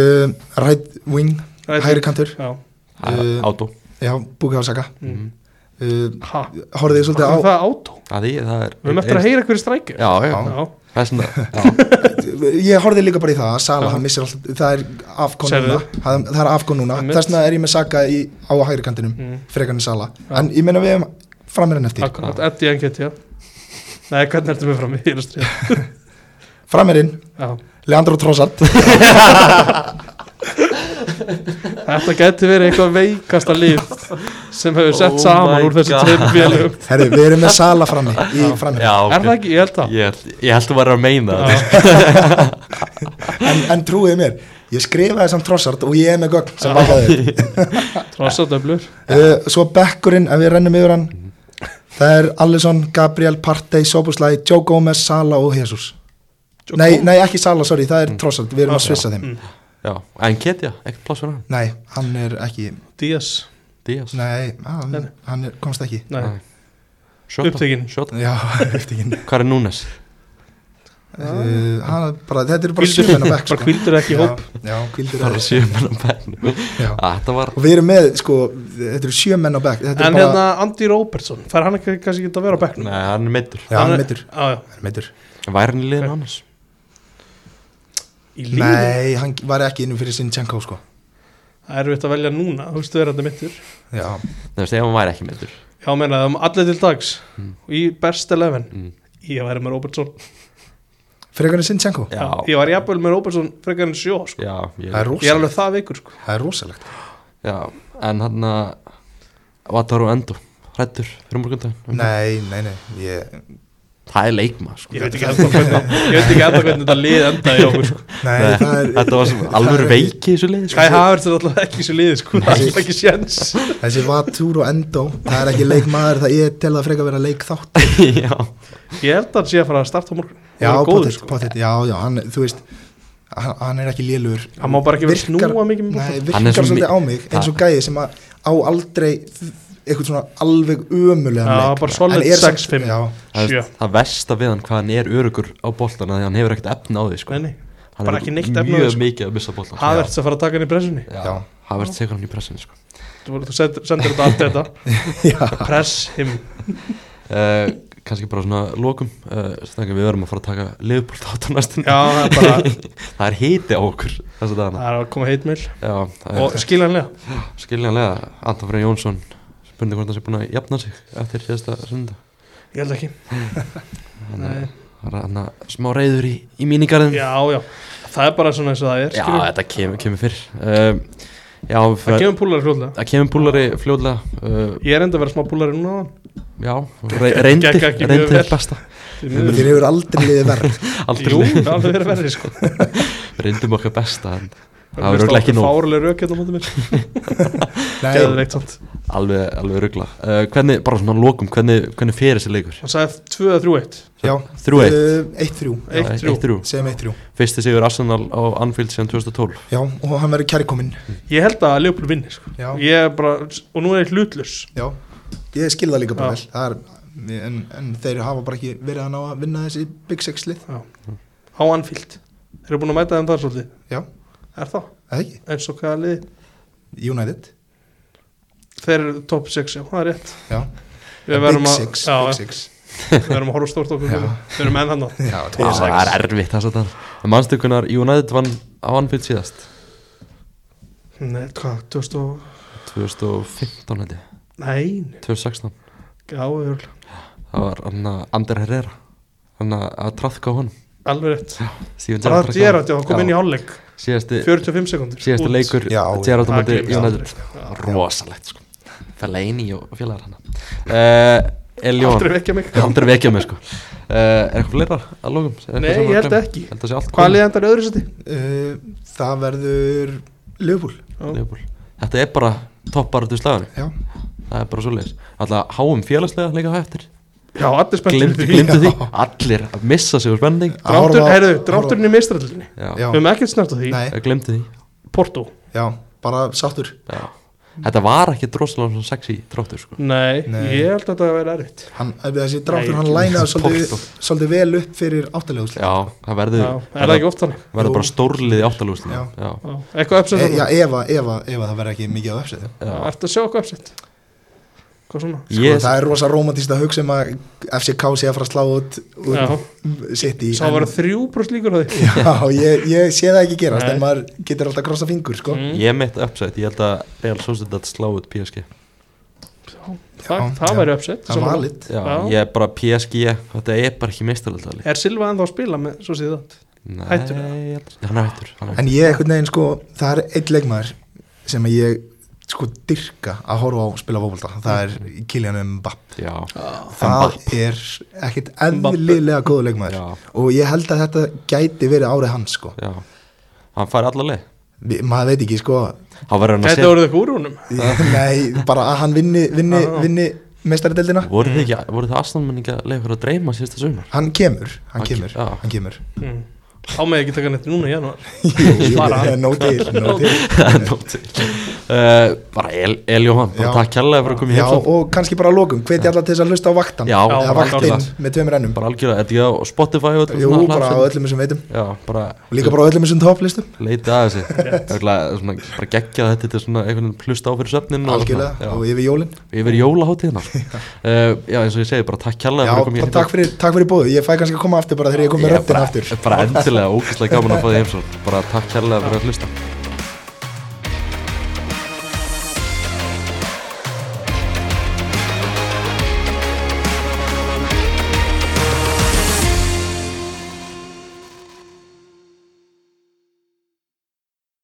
right wing, hægri kantur
Já,
Eh,
átó
já, Bukayo Saka
Mm.
uh,
ha
horfið
Það
þið
er
svolítið á
það átó
Það er það er
Við höfum eftir að heyra hverju strækir
Já, já,
Já.
Já,
það er svona já.
ég horfið líka bara í það að Sala,
Já.
hann missir alltaf, það er afkon
Sérðu?
núna það, það er afkon núna,
Einmitt.
þess vegna er ég með Saka í, á hægri kantinum,
Mm.
frekar en Sala
Já.
en ég meina við hefum framherrann eftir
sko.
akkurat, Eddie Enketia Nei, hvernig ertu með fram í hýra stríða
framherinn,
Já
Leandro Trossard
Þetta geti verið eitthvað veikasta líf sem hefur sett
Oh
saman
my
úr þessu
God.
tveimur félögum
Herri, við erum með Sala frammi í frammi
já
Er það
okay.
ekki, ég held það
Ég held- ég held þú væri að meina það
Já,
en, en trúið mér, ég skrifaði samt trossart og ég er með gögn sem bakaði upp.
Trossa döblur
uh, Svo bekkurinn, ef við rennum yfir hann Það er Allison, Gabriel, Partey, Sobuslai, Joe Gomez, Sala og Jesus nei, nei, ekki Sala, sorry, það er trossart, við erum
Mm.
að
Já.
svissa þeim
Mm.
Já, en Ketja, ekkert pláss fyrir hann
Nei, hann er ekki,
Díaz
Díaz
nei, ah, hann,
Nei.
hann er, komst ekki
Nei,
Nei. Shota,
Upptekinn.
Shota.
Já, eftir ekki
Hvað er Núnes?
uh, hann bara, Þetta eru bara
Hvíldur-
sjömenn að bekk sko.
bara hvíldur ekki í hóp
Já, já hvíldur
Það er
ekki.
sjöman að bæn
Já.
Þetta var
Og við erum með, sko, þetta eru sjömenn á bekk
En
Þetta er bara,
hérna Andy Robertson, fær hann ekki kannski geta að vera á bekknum?
Nei, hann er meittur
já, hann er meiddur.
Já, já,
Hann er meiddur.
Væri hann í liðin annars?
í lífi
Nei, hann var ekki innum fyrir sinn Tjenko sko.
Það er veit að velja núna, þú veistu verðandi mittur
Já,
Nei, þú veist, ef hann væri ekki meittur
Já, meina, um allir til dags Í best 11
mm.
Ég væri með Robertson
frekar en Sinchenko
Já,
Ég var jafnvel með Robertson frekar en sjó sko.
já ég,
Það
Ég er
er rosalegt
alveg það veikur sko.
Það er rosalegt
Já, en hann uh, að Vataru Endo, hrættur fyrir morgundaginn
Nei, nei, nei ég,
Það er leikma, sko
Ég veit ekki ennþá hvernig, ég veit ekki ennþá hvernig þetta lið endaði hjá okkur sko.
Nei,
Nei,
það er
Þetta var sem alvöru veiki í þessu liði, sko
Kai Havertz er alltaf ekki svo liðið sko, það er ekki sjens
Þessi Vatur og Endo Það er ekki leikmaður Það ég tel það frekar vera leik þátt
Já,
Ég held að hann sé að fara að starta á morgun
Já,
Hann er góður,
sko.
sko.
potið, potið Já, já, hann, þú veist Hann, hann er ekki lélur
Hann má bara ekki vera að snúa mikið með
Nei,
boltann.
Hann er
virkar
svo mi-
svolítið á mig eins og gæði sem að á aldrei eitthvað svona alveg ömulegan
Já,
leik
bara solid
En er samt-
6-5.
Já,
það,
Sjö.
er- það versta við hann hvað hann er örugur á boltan að hann hefur ekkert efna á því sko.
Nei, nei,
hann
bara
hefur
ekki neitt efni á því,
mjög
sko.
mikið að missa boltan
Havertz að fara að taka hann í pressunni
já,
Já.
það verður segur hann í pressin sko.
Þú þú sendir sendir þetta allt þetta
já
Press him
uh, kannski bara svona lokum uh, stangum, við verðum að fara að taka liðból þátt á næstunni
Já, það er bara,
það er hiti á okkur þessu dagana
það er að koma heitmil
já, það
Og
er,
skiljanlega,
skiljanlega Anton Frey Jónsson spurning hvort hann sé búin að jafna sig eftir síðasta sunda
ég held ekki Nei.
hann að smá reyður í, í mínigarðin
Já, já, það er bara svona eins og það er
já
skilur.
þetta kemur, kemur fyrr uh, já,
Það kemur púlar hljóðlega
Það kemur búlari fljóðlega uh,
Ég er enda að vera smá púlari núna
Já, re reyndir,
Gekk ekki mjög
reyndir
vel.
besta
því miður.
Þér hefur aldrei liðið verð
Aldrei
Jú, það er aldrei verið verið sko
reyndum okkar besta en Það var örugglega ekki nóg.
Fáruleg rök hérna á móti mér
Nei,
Geðveikt samt.
alveg, alveg ruggla uh, Hvernig, bara svona lokum, hvernig, hvernig fyrir þessi leikur?
Hann sagði 2-3-1
já
Þrjú eitt.
uh, Eitt þrjú
Já, eitt,
Eh, þrjú.
eitt, þrjú.
Segjum eitt þrjú
Fyrsti sigur Arsenal á Anfield síðan 2012
Já, og hann verður kærkominn
Ég held að Leopold vinni sko.
Já,
Ég er bara, og nú er ég hlutlus
já Ég skil það líka bara
Já.
vel Það er, en, en þeir hafa bara ekki verið að ná að vinna þessi Big Six lið,
á Anfield Þeir eru búin að mæta þeim þar svolítið
Já.
Er það?
eða ekki?
Eins og hvaða lið
United
Þeir eru top 6, já, það er rétt
Já,
Við
Big
verðum að,
Six,
já,
Big Six
við verðum að horfa stórt okkur
Já.
fyrir. Við verðum enn hann á
Já,
Vá,
það
Ah, Það er erfitt þess að það Mannstökunar United vann á Anfield síðast
Nei, hvað, 2000 og
2015 heiti,
Nei, nei,
2016
já, örugglega.
Það var hann að Ander Herrera hann að- að trafka á honum
alveg rétt
Steven
Það er
Gerrard traðka á honum.
Gerard, já, hann kom inn í hálfleik
Síðasti,
45 sekundur
síðasti leikur
Já, já.
Gerrard á móti
Það gerist
United
aldrei. Já.
Rosalegt sko Fellaini og félagar hann uh, Eljóan,
Aldrei vekja mig
aldrei vekja mig sko uh, Er eitthvað fleira að lókum?
Nei, ég held ekki
Held að sé allt
Hvað liðan þar öðru seti?
uh, það verður Liverpool
Já.
Liverpool. Þetta er bara topparötu slagan
já,
Það er bara svoleiðis Alltaf háum félagslega líka á eftir
Já, allir spenntur
Glimtu, glimtu því Allir að missa sig úr spenning
Að horfa-
Dráttur, heyrðu,
horfa-
drátturinn í Um- meistrallinni
Já,
já,
Við höfum ekkert snart á því
nei,
ég glimtu því
Porto
já, bara sáttur
Já. Þetta var ekki droslega svona sexy dráttur sko
Nei,
Nei.
ég held að það væri erfitt
hann, ef þessi dráttur,
Nei,
hann lænaði svolítið,
Porto.
svolítið vel upp fyrir áttalegu
Já, það verður
Já, Er það ekki oft þannig?
verður bara
Jú.
stórlið í áttalúslu
Já.
Já,
Já, Eitthvað uppsett
e, já,
þarna?
ef, að- ef, að- ef að það verður ekki mikið á öfsið
já.
Ertu að sjá eitthvað uppsett? Hvað svona?
sko,
Ég,
það er rosa romantist að hugsa um að FCK sé að fara að slá út
Já,
úr City
sá
en-
var þrjú brúst líkur á því
Já, ég, ég sé það ekki gerast
Nei.
en maður getur alltaf að krossa fingur sko.
Mm.
ég mitt uppsett, ég held að Real Sociedad slá út PSG
Það,
Já,
það
já.
væri uppsett
það var lit
Já,
Já.
ég er bara PSG, þetta er bara ekki meistarlega
Er Silva ennþá að spila með svo síðan?
Nei,
Hættur eða?
ég held- hann er hættur hann er
en ég einhvern veginn sko, það er einn leikmaður sem að ég sko dyrka að horfa á að spila fókbalta það er Kylian Mbapp
hættur. Já,
það er ekkit
Mbappé.
eðlilega góðu leikmaður
já,
og ég held að þetta gæti verið árið hans sko.
já Hann fær allar leið
Vi- maður veit ekki sko
Hann verður hann að
Þetta
setja
voruð eitthvað úr húnum
nei, bara að hann vinni, vinni,
Já.
vinni mestaradeldina
Voru þið
Mm.
ekki, voru þið aðstandmenninga leikur að dreyma síðasta sumar?
hann kemur,
Hann
hann kemur,
ke- já.
hann kemur.
Mm. Á með ekki taka neitt núna í janúar
Jú, jú,
Bara.
no deal, no deal.
Það er nóg til uh, Bara El, El Jóhann, bara
Já.
takk kærlega fyrir að koma í
Já,
heimsókn
og kannski bara að lokum, hveti alla til þess að hlusta á vaktan
um- Já,
eða
bara
vaktinn
algjörlega.
með tveimur ennum
Bara algjörlega, er þetta ekki á Spotify og öllu
Jú,
svona
bara á
hlaðvarpi?
öllum sem veitum
Já, bara
og líka bara á öllum sem topplistum
leitið að þessu Örugglega svona, bara geggjað þetta til svona einhvern veginn hlust á fyrir söfnin og,
algjörlega og
svona,
yfir jólin
já, yfir jólaháttíðina uh, já eins og ég segi bara takk
Já,
kærlega fyrir að koma í
bara takk fyrir, takk fyrir bóðu, ég fæ kannski að koma aftur bara þegar ég kom með
Ég
röddina
bara-
aftur
bara endilega ógæslega gaman að fá því heimsókn bara takk kærlega fyrir að hlusta